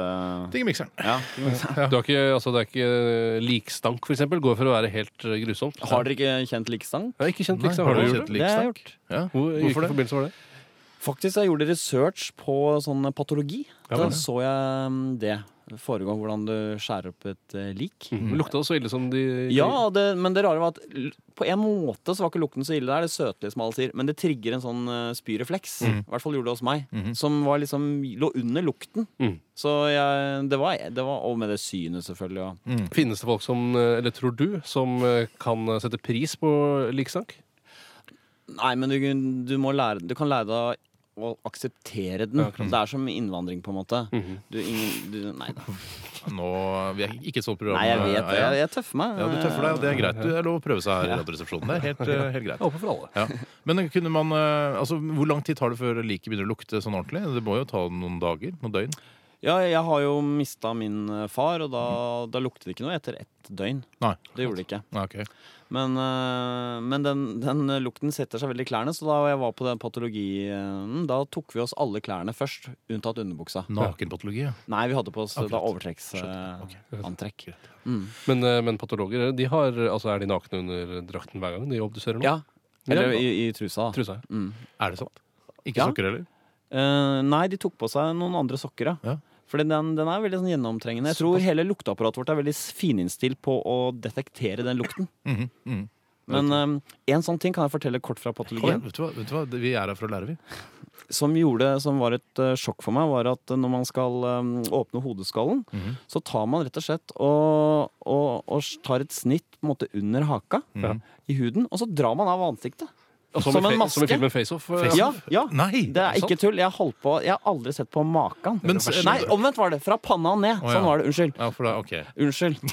Speaker 1: Ting i mikseren.
Speaker 3: Ja, ting i mikse.
Speaker 2: Du har ikke, altså, det er ikke eh, likstank, for eksempel. Går for å være helt eh, grusomt.
Speaker 3: Har dere ikke kjent likesang?
Speaker 2: Jeg har ikke kjent
Speaker 1: Nei,
Speaker 2: likstank.
Speaker 1: har du
Speaker 2: Har du
Speaker 1: kjent
Speaker 2: gjort det?
Speaker 1: likstank?
Speaker 3: Det har jeg gjort.
Speaker 1: Ja.
Speaker 2: Hvor, i
Speaker 1: Hvorfor
Speaker 2: hvilken
Speaker 1: det?
Speaker 2: forbindelse var det?
Speaker 3: Faktisk, jeg gjorde research på sånn patologi. Da så jeg mm, det foregå, hvordan du skjærer opp et eh, lik.
Speaker 2: Men Lukta det så ille som de
Speaker 3: Ja, det, men det rare var at l- på en måte så var ikke lukten så ille. Det er det søtlige som alle sier. Men det trigger en sånn eh, spyrefleks.
Speaker 1: Mhm.
Speaker 3: I hvert fall gjorde det hos meg. Som var liksom, lå under lukten.
Speaker 2: Mm.
Speaker 3: Så jeg, det, var, det var Og med det synet, selvfølgelig. Og.
Speaker 1: Mm.
Speaker 2: Finnes det folk som, eh, eller tror du, som eh, kan sette pris på likstank?
Speaker 3: Nei, men du, du, må lære, du kan lære deg å akseptere den. det er som innvandring, på en måte.
Speaker 1: Mhm.
Speaker 3: du, ingen, du, nei, da.
Speaker 1: Nå, vi er ikke et sånt program.
Speaker 3: nei, jeg vet
Speaker 1: eh,
Speaker 3: det.
Speaker 1: Aya.
Speaker 3: Jeg, jeg tøffer meg.
Speaker 1: Ja, du tøffer deg, og det er greit. Det er lov å prøve seg her i Radioresepsjonen. Det er helt, eh, helt greit.
Speaker 2: Jeg håper for alle.
Speaker 1: Ja. Men kunne man, eh, altså, hvor lang tid tar det før liket begynner å lukte sånn ordentlig? Det må jo ta noen dager? Noen døgn?
Speaker 3: Ja, jeg har jo mista min eh, far, og da, da lukter det ikke noe etter ett døgn.
Speaker 1: Nei.
Speaker 3: Det gjorde det ikke.
Speaker 1: Nei, ok.
Speaker 3: Men, eh, men den, den lukten setter seg veldig i klærne, så da jeg var på den patologien, da tok vi oss alle klærne først, unntatt underbuksa.
Speaker 1: Nakenpatologi, ja.
Speaker 3: Nei, vi hadde på oss da
Speaker 1: Skjønt. Ok.
Speaker 3: overtrekksantrekk.
Speaker 2: Men, eh, men patologer de har, altså, er de nakne under drakten hver gang de obduserer noe?
Speaker 3: Ja. Eller i, i trusa. da.
Speaker 2: Trusa, ja.
Speaker 1: Er det sant? Ikke
Speaker 3: Ja.
Speaker 1: sokker heller?
Speaker 3: Eh, nei, de tok på seg noen andre sokker, ja.
Speaker 1: Ja.
Speaker 3: Fordi den, den er veldig sånn gjennomtrengende. Jeg tror hele lukteapparatet vårt er veldig s- fininnstilt på å detektere den lukten.
Speaker 1: Mhm,
Speaker 3: Men eh, en sånn ting kan jeg fortelle kort fra
Speaker 1: Kom igjen,
Speaker 3: patologien.
Speaker 1: vet du hva? Vet du hva? Vi er her for å lære, vi.
Speaker 3: som, gjorde, som var et eh, sjokk for meg, var at eh, når man skal eh, åpne hodeskallen, så tar man rett og slett og, og, og tar et snitt på en måte under haka i huden, og så drar man av ansiktet.
Speaker 2: Og
Speaker 3: Som,
Speaker 2: i fe-
Speaker 3: en maske.
Speaker 2: Som i filmen Face Off. eh,
Speaker 3: Ja, ja.
Speaker 1: Nei!
Speaker 3: Det er ikke tull. Jeg, holdt på, jeg har aldri sett på maken.
Speaker 1: Men s-
Speaker 3: Nei, omvendt var det. Fra panna og ned.
Speaker 1: Å, ja.
Speaker 3: Sånn var det. Unnskyld.
Speaker 1: Ja, for da, ok.
Speaker 3: Unnskyld.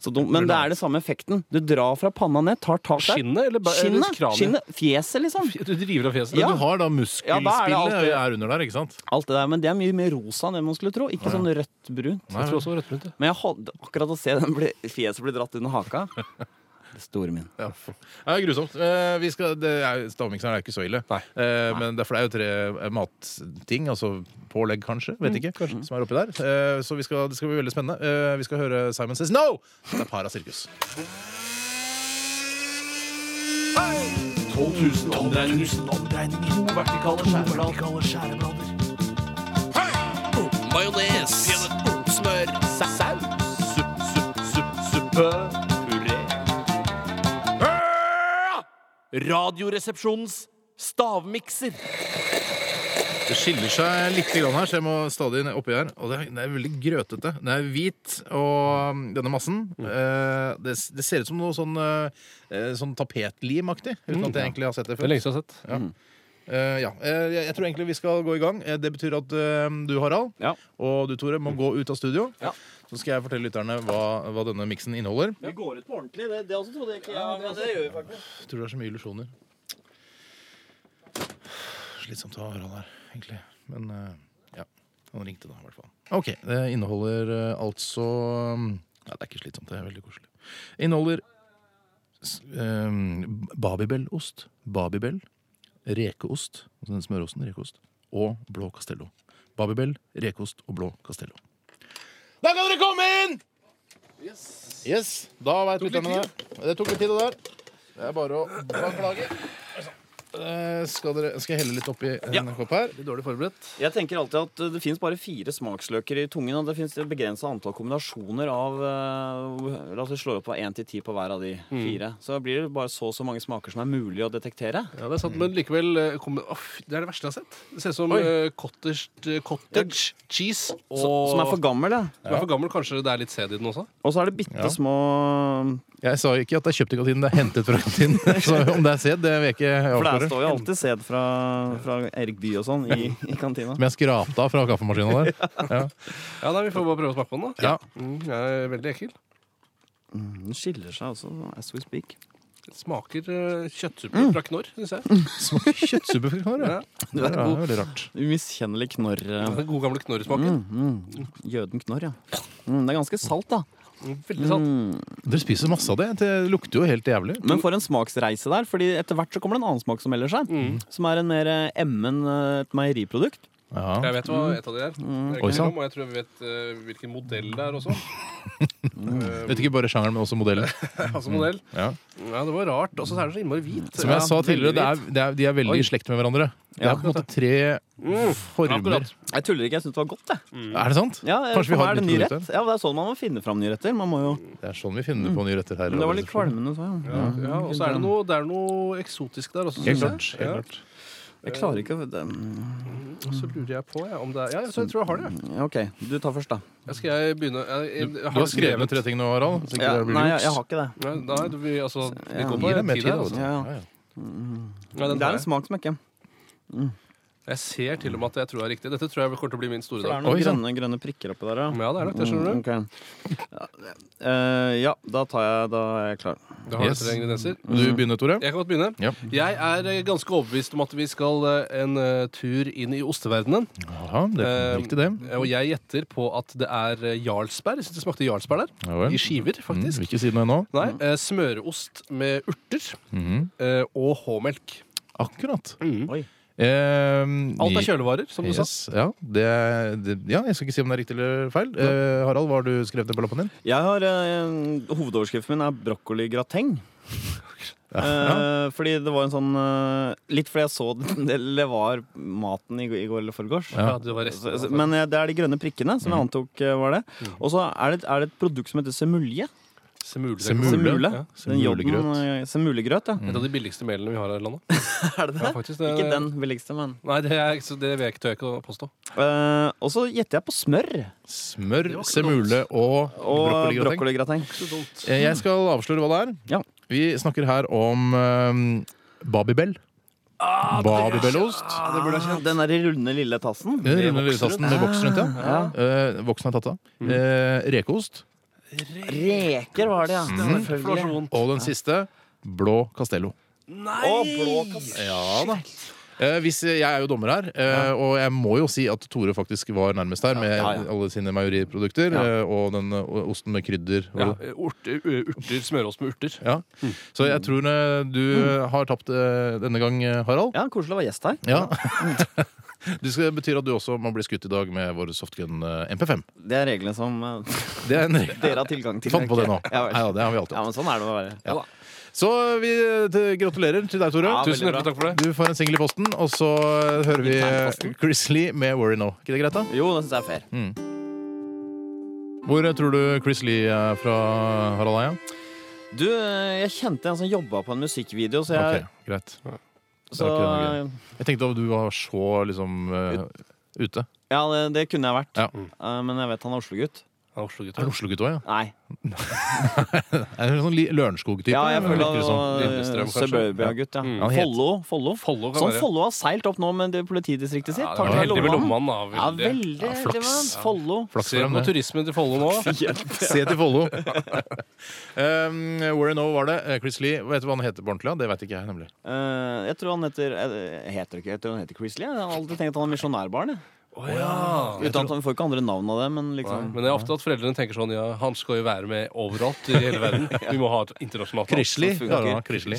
Speaker 3: Så dumt. Men det er det samme effekten. Du drar fra panna ned, tar tak der.
Speaker 2: Skinnet eller, ba- eller
Speaker 3: Skinnet,
Speaker 2: kraniet?
Speaker 3: skinnet, fjeset, liksom.
Speaker 2: Du driver av fjeset?
Speaker 1: Men
Speaker 3: Ja.
Speaker 1: du har da muskelspillet
Speaker 3: Ja, da er det alltid-
Speaker 1: er under der, ikke sant?
Speaker 3: Alt det der, Men det er mye mer rosa enn det man skulle tro. Ikke sånn rødt-brunt.
Speaker 2: Jeg tror også det var rødbrunt. ja.
Speaker 3: Men jeg hadde akkurat å se den bli, fjeset bli dratt under haka Det store min.
Speaker 1: Ja, det er grusomt. Eh, Vi skal, det er, stavmikseren er ikke så ille.
Speaker 2: Nei.
Speaker 1: Eh, Men det er, for det er jo tre eh, matting, altså pålegg Mm, kanskje, vet ikke, som er oppi der. Eh, Så vi skal, det skal bli veldig spennende. Eh, Vi skal høre Simon Says No! Det er Para Sirkus. Det skiller seg litt grann her, så jeg må stadig ned- oppi her. Og det er, det er veldig grøtete. Den er hvit, og um, denne massen eh, det, s- det ser ut som noe sånn, eh, sånn tapetlimaktig, uten at jeg egentlig har sett Mm. det
Speaker 2: Det er
Speaker 1: før.
Speaker 2: lenge siden jeg har sett.
Speaker 1: Eh, ja. Eh, jeg, jeg tror egentlig vi skal gå i gang. Eh, det betyr at eh, du, Harald,
Speaker 3: Ja.
Speaker 1: og du, Tore, må gå ut av studio.
Speaker 3: Ja.
Speaker 1: Så skal jeg fortelle lytterne hva, hva denne miksen inneholder.
Speaker 3: Vi går ut på ordentlig. Det, også trodde jeg ikke. Ja, men det gjør vi faktisk.
Speaker 1: Jeg tror det er så mye illusjoner. Slitsomt å ha Harald her, egentlig. Men eh, ja. Han ringte, da, i hvert fall. OK. Det inneholder eh, altså Nei, det er ikke slitsomt. Det er veldig koselig. Inneholder s- ehm, babybellost. Babybel. Rekeost. Altså den smørosten. Rekeost. Og blå castello. Babybel, rekeost og blå castello. Da kan dere komme inn! Yes. Da veit lytterne det. Det tok litt tid, det der. Det er bare å beklage. Eh, Skal, dere, skal jeg helle litt oppi en kopp her?
Speaker 2: Dårlig forberedt.
Speaker 3: Jeg tenker alltid at eh, det fins bare fire smaksløker i tungen. Og det fins et begrensa antall kombinasjoner av eh, La oss si slå opp på én til ti på hver av de fire. Så da blir det bare så og så mange smaker som er mulig å detektere.
Speaker 2: Ja, det er sant, men likevel eh, kom, Aff, Det er det verste jeg har sett. Det ser ut som
Speaker 1: Oi.
Speaker 2: eh, cottage, eh, cottage cheese og
Speaker 3: Så, som er for gammel, det.
Speaker 2: som er for gammel. Kanskje det er litt sæd i den også?
Speaker 3: Og så er det bitte små
Speaker 1: Jeg sa jo ikke at det er kjøpt i kantinen, det er hentet fra kantinen. Så om det er sæd, det vil jeg ikke
Speaker 3: For der
Speaker 1: avsløre.
Speaker 3: står jo alltid sæd fra, fra Erik Bye og sånn i, i kantina.
Speaker 1: Som jeg skrapte av fra kaffemaskina der. Ja.
Speaker 2: Ja, nei, Vi får bare prøve å smake på den, da.
Speaker 1: Ja.
Speaker 2: Mm, den er veldig ekkel.
Speaker 3: Den skiller seg altså as we speak.
Speaker 2: Det smaker eh, kjøttsuppe
Speaker 1: Mm.
Speaker 2: fra knorr, syns jeg.
Speaker 1: Smaker kjøttsuppe fra knorr. ja. Det er veldig rart.
Speaker 3: Umiskjennelig knorr. eh,
Speaker 2: Den gode gamle
Speaker 1: Mm.
Speaker 2: knorrsmaken.
Speaker 3: Jøden knorr, ja. Mm, det er ganske salt, da.
Speaker 2: Mm, Veldig sant.
Speaker 1: Mm. Dere spiser masse av det. Det lukter jo helt jævlig.
Speaker 3: Men for en smaksreise der, Fordi etter hvert så kommer det en annen smak som melder seg.
Speaker 2: Mm.
Speaker 3: Som er en mer eh, emmen eh, et meieriprodukt.
Speaker 1: Ja.
Speaker 2: Jeg vet hva et av de er. Det er
Speaker 1: Mm. Oi,
Speaker 2: ikke
Speaker 1: sant.
Speaker 2: noe om, og jeg tror jeg vet eh, hvilken modell det er også.
Speaker 1: Vet ikke bare sjangeren, men også modellen.
Speaker 2: altså modell.
Speaker 1: Mm. Ja.
Speaker 2: Ja, det var rart. Og så er det så innmari hvit.
Speaker 1: Som jeg sa tidligere, det er, det er, de er veldig
Speaker 2: Oi.
Speaker 1: i slekt med hverandre. Det
Speaker 3: Ja.
Speaker 1: er på
Speaker 3: Mm.
Speaker 1: en måte tre former.
Speaker 2: Akkurat.
Speaker 3: Jeg tuller ikke, jeg syns det var godt.
Speaker 2: Mm.
Speaker 3: Jeg.
Speaker 1: Er det sant?
Speaker 3: Ja, eh,
Speaker 1: Kanskje vi
Speaker 3: for
Speaker 1: har
Speaker 3: meg er
Speaker 1: et
Speaker 3: det ny
Speaker 1: nytt
Speaker 3: rett.
Speaker 1: produkt
Speaker 3: Ja, Det er sånn man må finne fram nye retter. Man må jo...
Speaker 1: her? Det er sånn vi finner på nye retter her. i
Speaker 3: Mm. Men det var litt
Speaker 1: Radioresepsjonen.
Speaker 3: kvalmende. Så, ja. Mm.
Speaker 2: Ja, ja, og så er det noe, det er noe eksotisk der også.
Speaker 1: Helt klart.
Speaker 2: synes jeg.
Speaker 1: Helt
Speaker 2: Ja.
Speaker 1: klart.
Speaker 3: Jeg klarer ikke å det- mm,
Speaker 2: Og så lurer jeg på ja, om det er Ja, jeg tror jeg tror jeg har det. jeg.
Speaker 3: Ja, OK, du tar først, da.
Speaker 2: Jeg skal jeg begynne jeg, jeg, jeg,
Speaker 1: Du har skrevet tre ting nå, Harald. så ikke
Speaker 3: Ja,
Speaker 1: det blir
Speaker 3: nei,
Speaker 1: juks.
Speaker 3: jeg, jeg har ikke det.
Speaker 2: Nei, nei, du, vi, altså, det
Speaker 3: Ja.
Speaker 2: går
Speaker 1: Gi
Speaker 2: på
Speaker 1: deg mer
Speaker 2: tid
Speaker 1: tid, da,
Speaker 2: her.
Speaker 1: vet du.
Speaker 2: Altså.
Speaker 3: Ja,
Speaker 1: Ja,
Speaker 3: ja.
Speaker 1: ja.
Speaker 2: Nei, den
Speaker 3: Det
Speaker 2: tar
Speaker 3: er
Speaker 2: jeg.
Speaker 3: en smak som jeg ikke
Speaker 2: Jeg ser til og med at jeg tror det er riktig. Dette tror jeg kommer til å bli min store
Speaker 3: For det
Speaker 2: dag.
Speaker 3: Sånn er noen
Speaker 1: Oi, sann.
Speaker 3: grønne, grønne prikker oppi der,
Speaker 2: Ja, sånn. det er nok det, skjønner
Speaker 3: Mm,
Speaker 2: du.
Speaker 3: ok. Ja, eh, ja, da tar jeg Da er jeg klar.
Speaker 2: Det har
Speaker 1: Yes.
Speaker 2: dette ingredienser.
Speaker 1: Vil
Speaker 3: Mm.
Speaker 1: du begynne, Tore?
Speaker 2: Jeg kan godt begynne.
Speaker 1: Ja.
Speaker 2: Jeg er eh, ganske overbevist om at vi skal eh, en eh, tur inn i osteverdenen.
Speaker 1: Jaha, det er
Speaker 2: Eh,
Speaker 1: riktig, det.
Speaker 2: Og jeg gjetter på at det er eh, Jarlsberg. Jeg syns det smakte Jarlsberg der.
Speaker 1: Ja vel.
Speaker 2: I skiver,
Speaker 1: Mm,
Speaker 2: faktisk.
Speaker 1: vil ikke si noe ennå.
Speaker 2: Nei, eh, smøreost med urter
Speaker 3: Mm.
Speaker 1: Mhm.
Speaker 2: eh, og H-melk.
Speaker 1: Akkurat. Ehm,
Speaker 3: Oi.
Speaker 2: Alt er kjølevarer, som du sa.
Speaker 1: Yes, ja, det, er- det, ja, jeg skal ikke si om det er riktig eller feil. Eh, Harald, hva har du skrevet ned på lappen din?
Speaker 3: Jeg har, eh, Hovedoverskriften min er brokkoligrateng. Eh, fordi det var en sånn eh, Litt fordi jeg så den, eller var maten i, går- i går eller forgårs.
Speaker 2: Ja, det Mm. var resten.
Speaker 3: Så- så- Men eh, det er de grønne prikkene som jeg antok eh, var det. Og så er, det- er det et produkt som heter semulje.
Speaker 2: Semule.
Speaker 1: Semule.
Speaker 3: Semule.
Speaker 2: Ja.
Speaker 3: Den jodden,
Speaker 1: Semulegrøt.
Speaker 3: eh, Semulegrøt, ja.
Speaker 2: Et av de billigste melene vi har her i landet.
Speaker 3: Er det det?
Speaker 2: Ja, faktisk, eh, det-
Speaker 3: Ikke den billigste, men.
Speaker 2: Nei, det, er, så det vet jeg ikke, tør jeg ikke å påstå.
Speaker 3: Eh, og så gjetter jeg på smør
Speaker 1: Smør, semule og,
Speaker 3: og
Speaker 1: brokkoligrateng.
Speaker 3: brokkoligrateng.
Speaker 1: Eh, Jeg skal avsløre hva det er.
Speaker 3: Ja.
Speaker 1: Vi snakker her om um, Babybel. Babybellost.
Speaker 3: Ah, den der runde lille tassen.
Speaker 1: Den runde lilletassen med voks rundt, ja. Eh, voksen har tatt av. Eh, rekeost.
Speaker 3: Reker var det, ja.
Speaker 2: Mm.
Speaker 3: Selvfølgelig.
Speaker 2: Flasjon.
Speaker 1: Og den siste blå Castello.
Speaker 3: Og blå kasse.
Speaker 1: Ja da. Eh, hvis, jeg er jo dommer her, eh, og jeg må jo si at Tore faktisk var nærmest her med
Speaker 3: Ja, ja.
Speaker 1: alle sine meieriprodukter eh, og den eh, osten med krydder. Og,
Speaker 2: Ja, urter, Eh, urter, smøreost med urter.
Speaker 1: Ja. Så jeg tror eh, du har tapt eh, denne gang, eh, Harald.
Speaker 3: Ja, koselig å være gjest her.
Speaker 1: Ja. Det skal- betyr at du også må bli skutt i dag med vår softgun eh, MP5.
Speaker 3: Det er reglene som eh,
Speaker 1: Det er en
Speaker 3: dere har tilgang til.
Speaker 1: Fant på det nå.
Speaker 3: Ja,
Speaker 1: Nei, ja,
Speaker 3: vel.
Speaker 1: det har vi alltid hatt.
Speaker 3: ja, men sånn er det å være.
Speaker 1: Ja. Så vi eh, t- gratulerer til deg, Tore.
Speaker 3: Ja,
Speaker 1: Tusen
Speaker 2: Tusen hjertelig takk for det.
Speaker 1: Du får en singel i posten, og så eh, hører vi
Speaker 3: Internposten.
Speaker 1: Chris Lee med 'Worry Now'. Ikke det greit, da?
Speaker 3: Jo, det syns jeg er fair.
Speaker 1: Hvor eh, tror du Chris Lee er fra, Harald Eia?
Speaker 3: Du, eh, jeg kjente en som jobba på en musikkvideo, så jeg
Speaker 1: Ok, greit.
Speaker 3: så,
Speaker 1: ikke noe Jeg tenkte om du var så liksom eh, ute.
Speaker 3: Ja, det, det kunne jeg vært.
Speaker 1: Ja.
Speaker 3: Eh, Men jeg vet han er Oslo-gutt.
Speaker 2: Ja, Oslo-gutter.
Speaker 1: Er det Oslo-gutt òg, ja?
Speaker 3: Nei.
Speaker 1: Er det en sånn li- Lørenskog-type?
Speaker 3: Ja, jeg
Speaker 1: eller
Speaker 3: føler
Speaker 1: virker det sånn?
Speaker 3: han
Speaker 2: Lillestrøm,
Speaker 3: var eh,
Speaker 2: kanskje?
Speaker 3: suburbia-gutt.
Speaker 2: Mm.
Speaker 3: Ja.
Speaker 1: Han het-
Speaker 3: Follo. Follo.
Speaker 2: Follo kan
Speaker 3: Som
Speaker 2: være-
Speaker 3: Follo har seilt opp nå med det politidistriktet sitt.
Speaker 2: Ja, det var
Speaker 3: Takk til
Speaker 2: heldig med lommannen,
Speaker 3: lommemannen.
Speaker 2: da.
Speaker 3: Ja,
Speaker 2: Veldig.
Speaker 3: veldig
Speaker 1: Ja,
Speaker 3: heldig med
Speaker 1: flaks.
Speaker 3: Follo.
Speaker 1: Flaks
Speaker 2: Se
Speaker 1: for ham,
Speaker 2: på
Speaker 1: det.
Speaker 2: turismen til Follo nå.
Speaker 1: Se til Follo. um, Where and Now var det. Eh, Chris Lee. Vet du hva han heter på ordentlig? da? Det vet ikke jeg, nemlig.
Speaker 3: Eh, jeg tror han heter eh, Heter ikke jeg tror han heter Chris Lee? Jeg har aldri tenkt at han er misjonærbarn. jeg.
Speaker 2: Å, ja.
Speaker 3: Uten at han får ikke andre navn av det, men liksom
Speaker 2: Men det er ofte at foreldrene tenker sånn Ja, han skal jo være med overalt i hele verden. Vi må ha et internasjonalt navn.
Speaker 1: Krisli.
Speaker 3: funker.
Speaker 1: Ja, da, Krisli.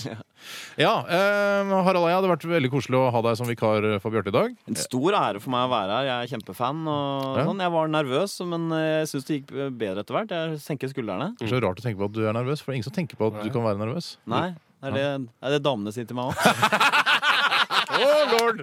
Speaker 1: ja um, Harald Eia, det har vært veldig koselig å ha deg som vikar for Bjarte i dag.
Speaker 3: En stor ære for meg å være her. Jeg er kjempefan. Og
Speaker 1: Ja.
Speaker 3: sånn. Jeg var nervøs, men eh, jeg syns det gikk bedre etter hvert. Jeg senker skuldrene.
Speaker 1: Det er så rart å tenke på at du er nervøs, for det er ingen som tenker på at du kan være nervøs.
Speaker 3: Mm. Nei, er det, er det damene sier til meg òg?
Speaker 1: Oh, lord!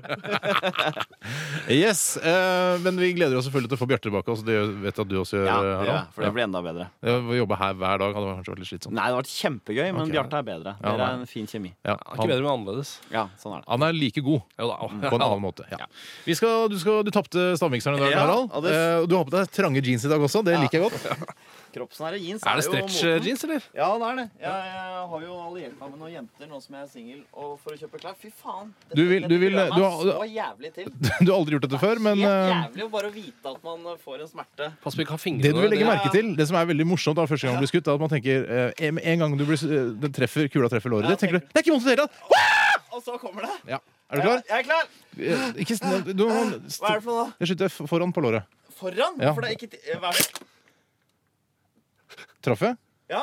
Speaker 1: yes, eh, men vi gleder oss selvfølgelig til å få Bjarte tilbake. Altså, det vet jeg at du også gjør,
Speaker 3: Ja, det gjør jeg,
Speaker 1: Harald.
Speaker 3: for det blir enda bedre.
Speaker 1: Ja, å jobbe her hver dag hadde kanskje vært litt slitsomt.
Speaker 3: Nei, det har vært kjempegøy, men
Speaker 1: Ok.
Speaker 3: Bjarte er bedre.
Speaker 1: Ja,
Speaker 3: Dere
Speaker 1: nei.
Speaker 3: er en fin kemi.
Speaker 1: Ja,
Speaker 2: Det er Ikke
Speaker 1: han,
Speaker 2: bedre, men annerledes.
Speaker 3: Ja, sånn er det.
Speaker 1: han er like god
Speaker 2: Jo da.
Speaker 1: på en annen måte. Ja. Vi skal, du skal, du tapte stavmikseren i dag,
Speaker 3: Ja,
Speaker 1: Harald.
Speaker 3: og det-
Speaker 1: Eh, og du har på deg trange jeans i dag også. Det liker jeg godt.
Speaker 3: Kroppsnære jeans
Speaker 2: Er det
Speaker 3: jo
Speaker 2: stretch eh,
Speaker 3: moten.
Speaker 2: jeans, eller?
Speaker 3: Ja, det er det. Jeg, jeg har jo alliert meg med noen jenter nå som jeg er singel, og for å kjøpe klær. Fy faen! Dette,
Speaker 1: Du vil- du vil-
Speaker 3: gleder jeg
Speaker 1: du
Speaker 3: meg
Speaker 1: har-
Speaker 3: så jævlig til.
Speaker 1: Du har aldri gjort dette før, men
Speaker 3: Helt
Speaker 1: eh,
Speaker 3: jævlig å bare vite at man eh, får en smerte.
Speaker 2: Pass på ikke å ha fingrene
Speaker 1: det du vil legge
Speaker 2: det-
Speaker 1: merke til, det som er veldig morsomt da, første gang du blir skutt, er at man tenker eh, med en gang du blir, eh, den treffer, kula treffer låret ditt, tenker du det er ikke vondt i det hele tatt!
Speaker 3: Og så kommer det.
Speaker 1: Ja. Er du klar?
Speaker 3: Jeg er klar!
Speaker 1: Eh, Ikke, sn- du, må-
Speaker 3: Hva er det for noe?
Speaker 1: jeg skyter f- foran på låret.
Speaker 3: da? Foran?
Speaker 1: Ja.
Speaker 3: For det er ikke ti- Hva er det?
Speaker 1: Traff jeg?
Speaker 3: Ja?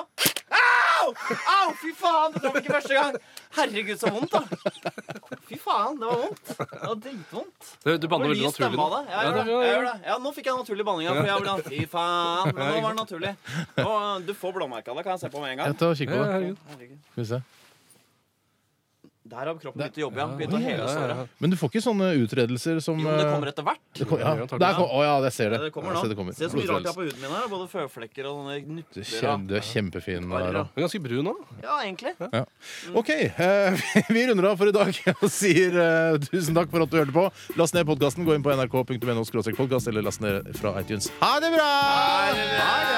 Speaker 3: Au! Au, fy faen! Det var ikke første gang. Herregud, så vondt, da. Fy faen, det var vondt. Det var dritvondt.
Speaker 2: Du, du banner
Speaker 3: Og
Speaker 2: veldig
Speaker 3: lys
Speaker 2: naturlig.
Speaker 3: stemme av det.
Speaker 2: nå.
Speaker 3: Jeg gjør det. Jeg gjør det. Ja, nå fikk jeg naturlig banning. av det, For jeg ble, fy faen. Men nå var det naturlig. Nå, du får blåmerka av det. Kan jeg se på med en
Speaker 1: Jeg
Speaker 3: gang?
Speaker 1: tar og kikker
Speaker 2: Ja,
Speaker 1: på det.
Speaker 2: herregud.
Speaker 3: Herregud.
Speaker 1: Skal vi se.
Speaker 3: Der har kroppen begynt å jobbe, ja. Begynt å hele såret.
Speaker 1: Men du får ikke sånne utredelser som
Speaker 3: Jo, men det kommer
Speaker 1: eh,
Speaker 3: etter hvert.
Speaker 1: det kom- ja.
Speaker 2: Ja, takk.
Speaker 1: Der kom, å ja, jeg ser det.
Speaker 3: Det kommer
Speaker 1: Jeg
Speaker 3: nå.
Speaker 1: ser det kommer.
Speaker 3: Se så mye rart jeg har
Speaker 1: Blodutredelse.
Speaker 3: på huden min her. Både føflekker og sånne
Speaker 1: Du
Speaker 3: knupper.
Speaker 1: er kjem-
Speaker 3: og-
Speaker 1: du er kjempefin.
Speaker 3: Bare,
Speaker 1: Harald.
Speaker 2: Du er ganske brun nå.
Speaker 3: Ja, egentlig.
Speaker 1: OK, eh, vi runder av for i dag og sier eh, tusen takk for at du hørte på. Last ned podkasten. Gå inn på nrk.no podkast eller last ned fra iTunes. Ha det bra! Ha det bra!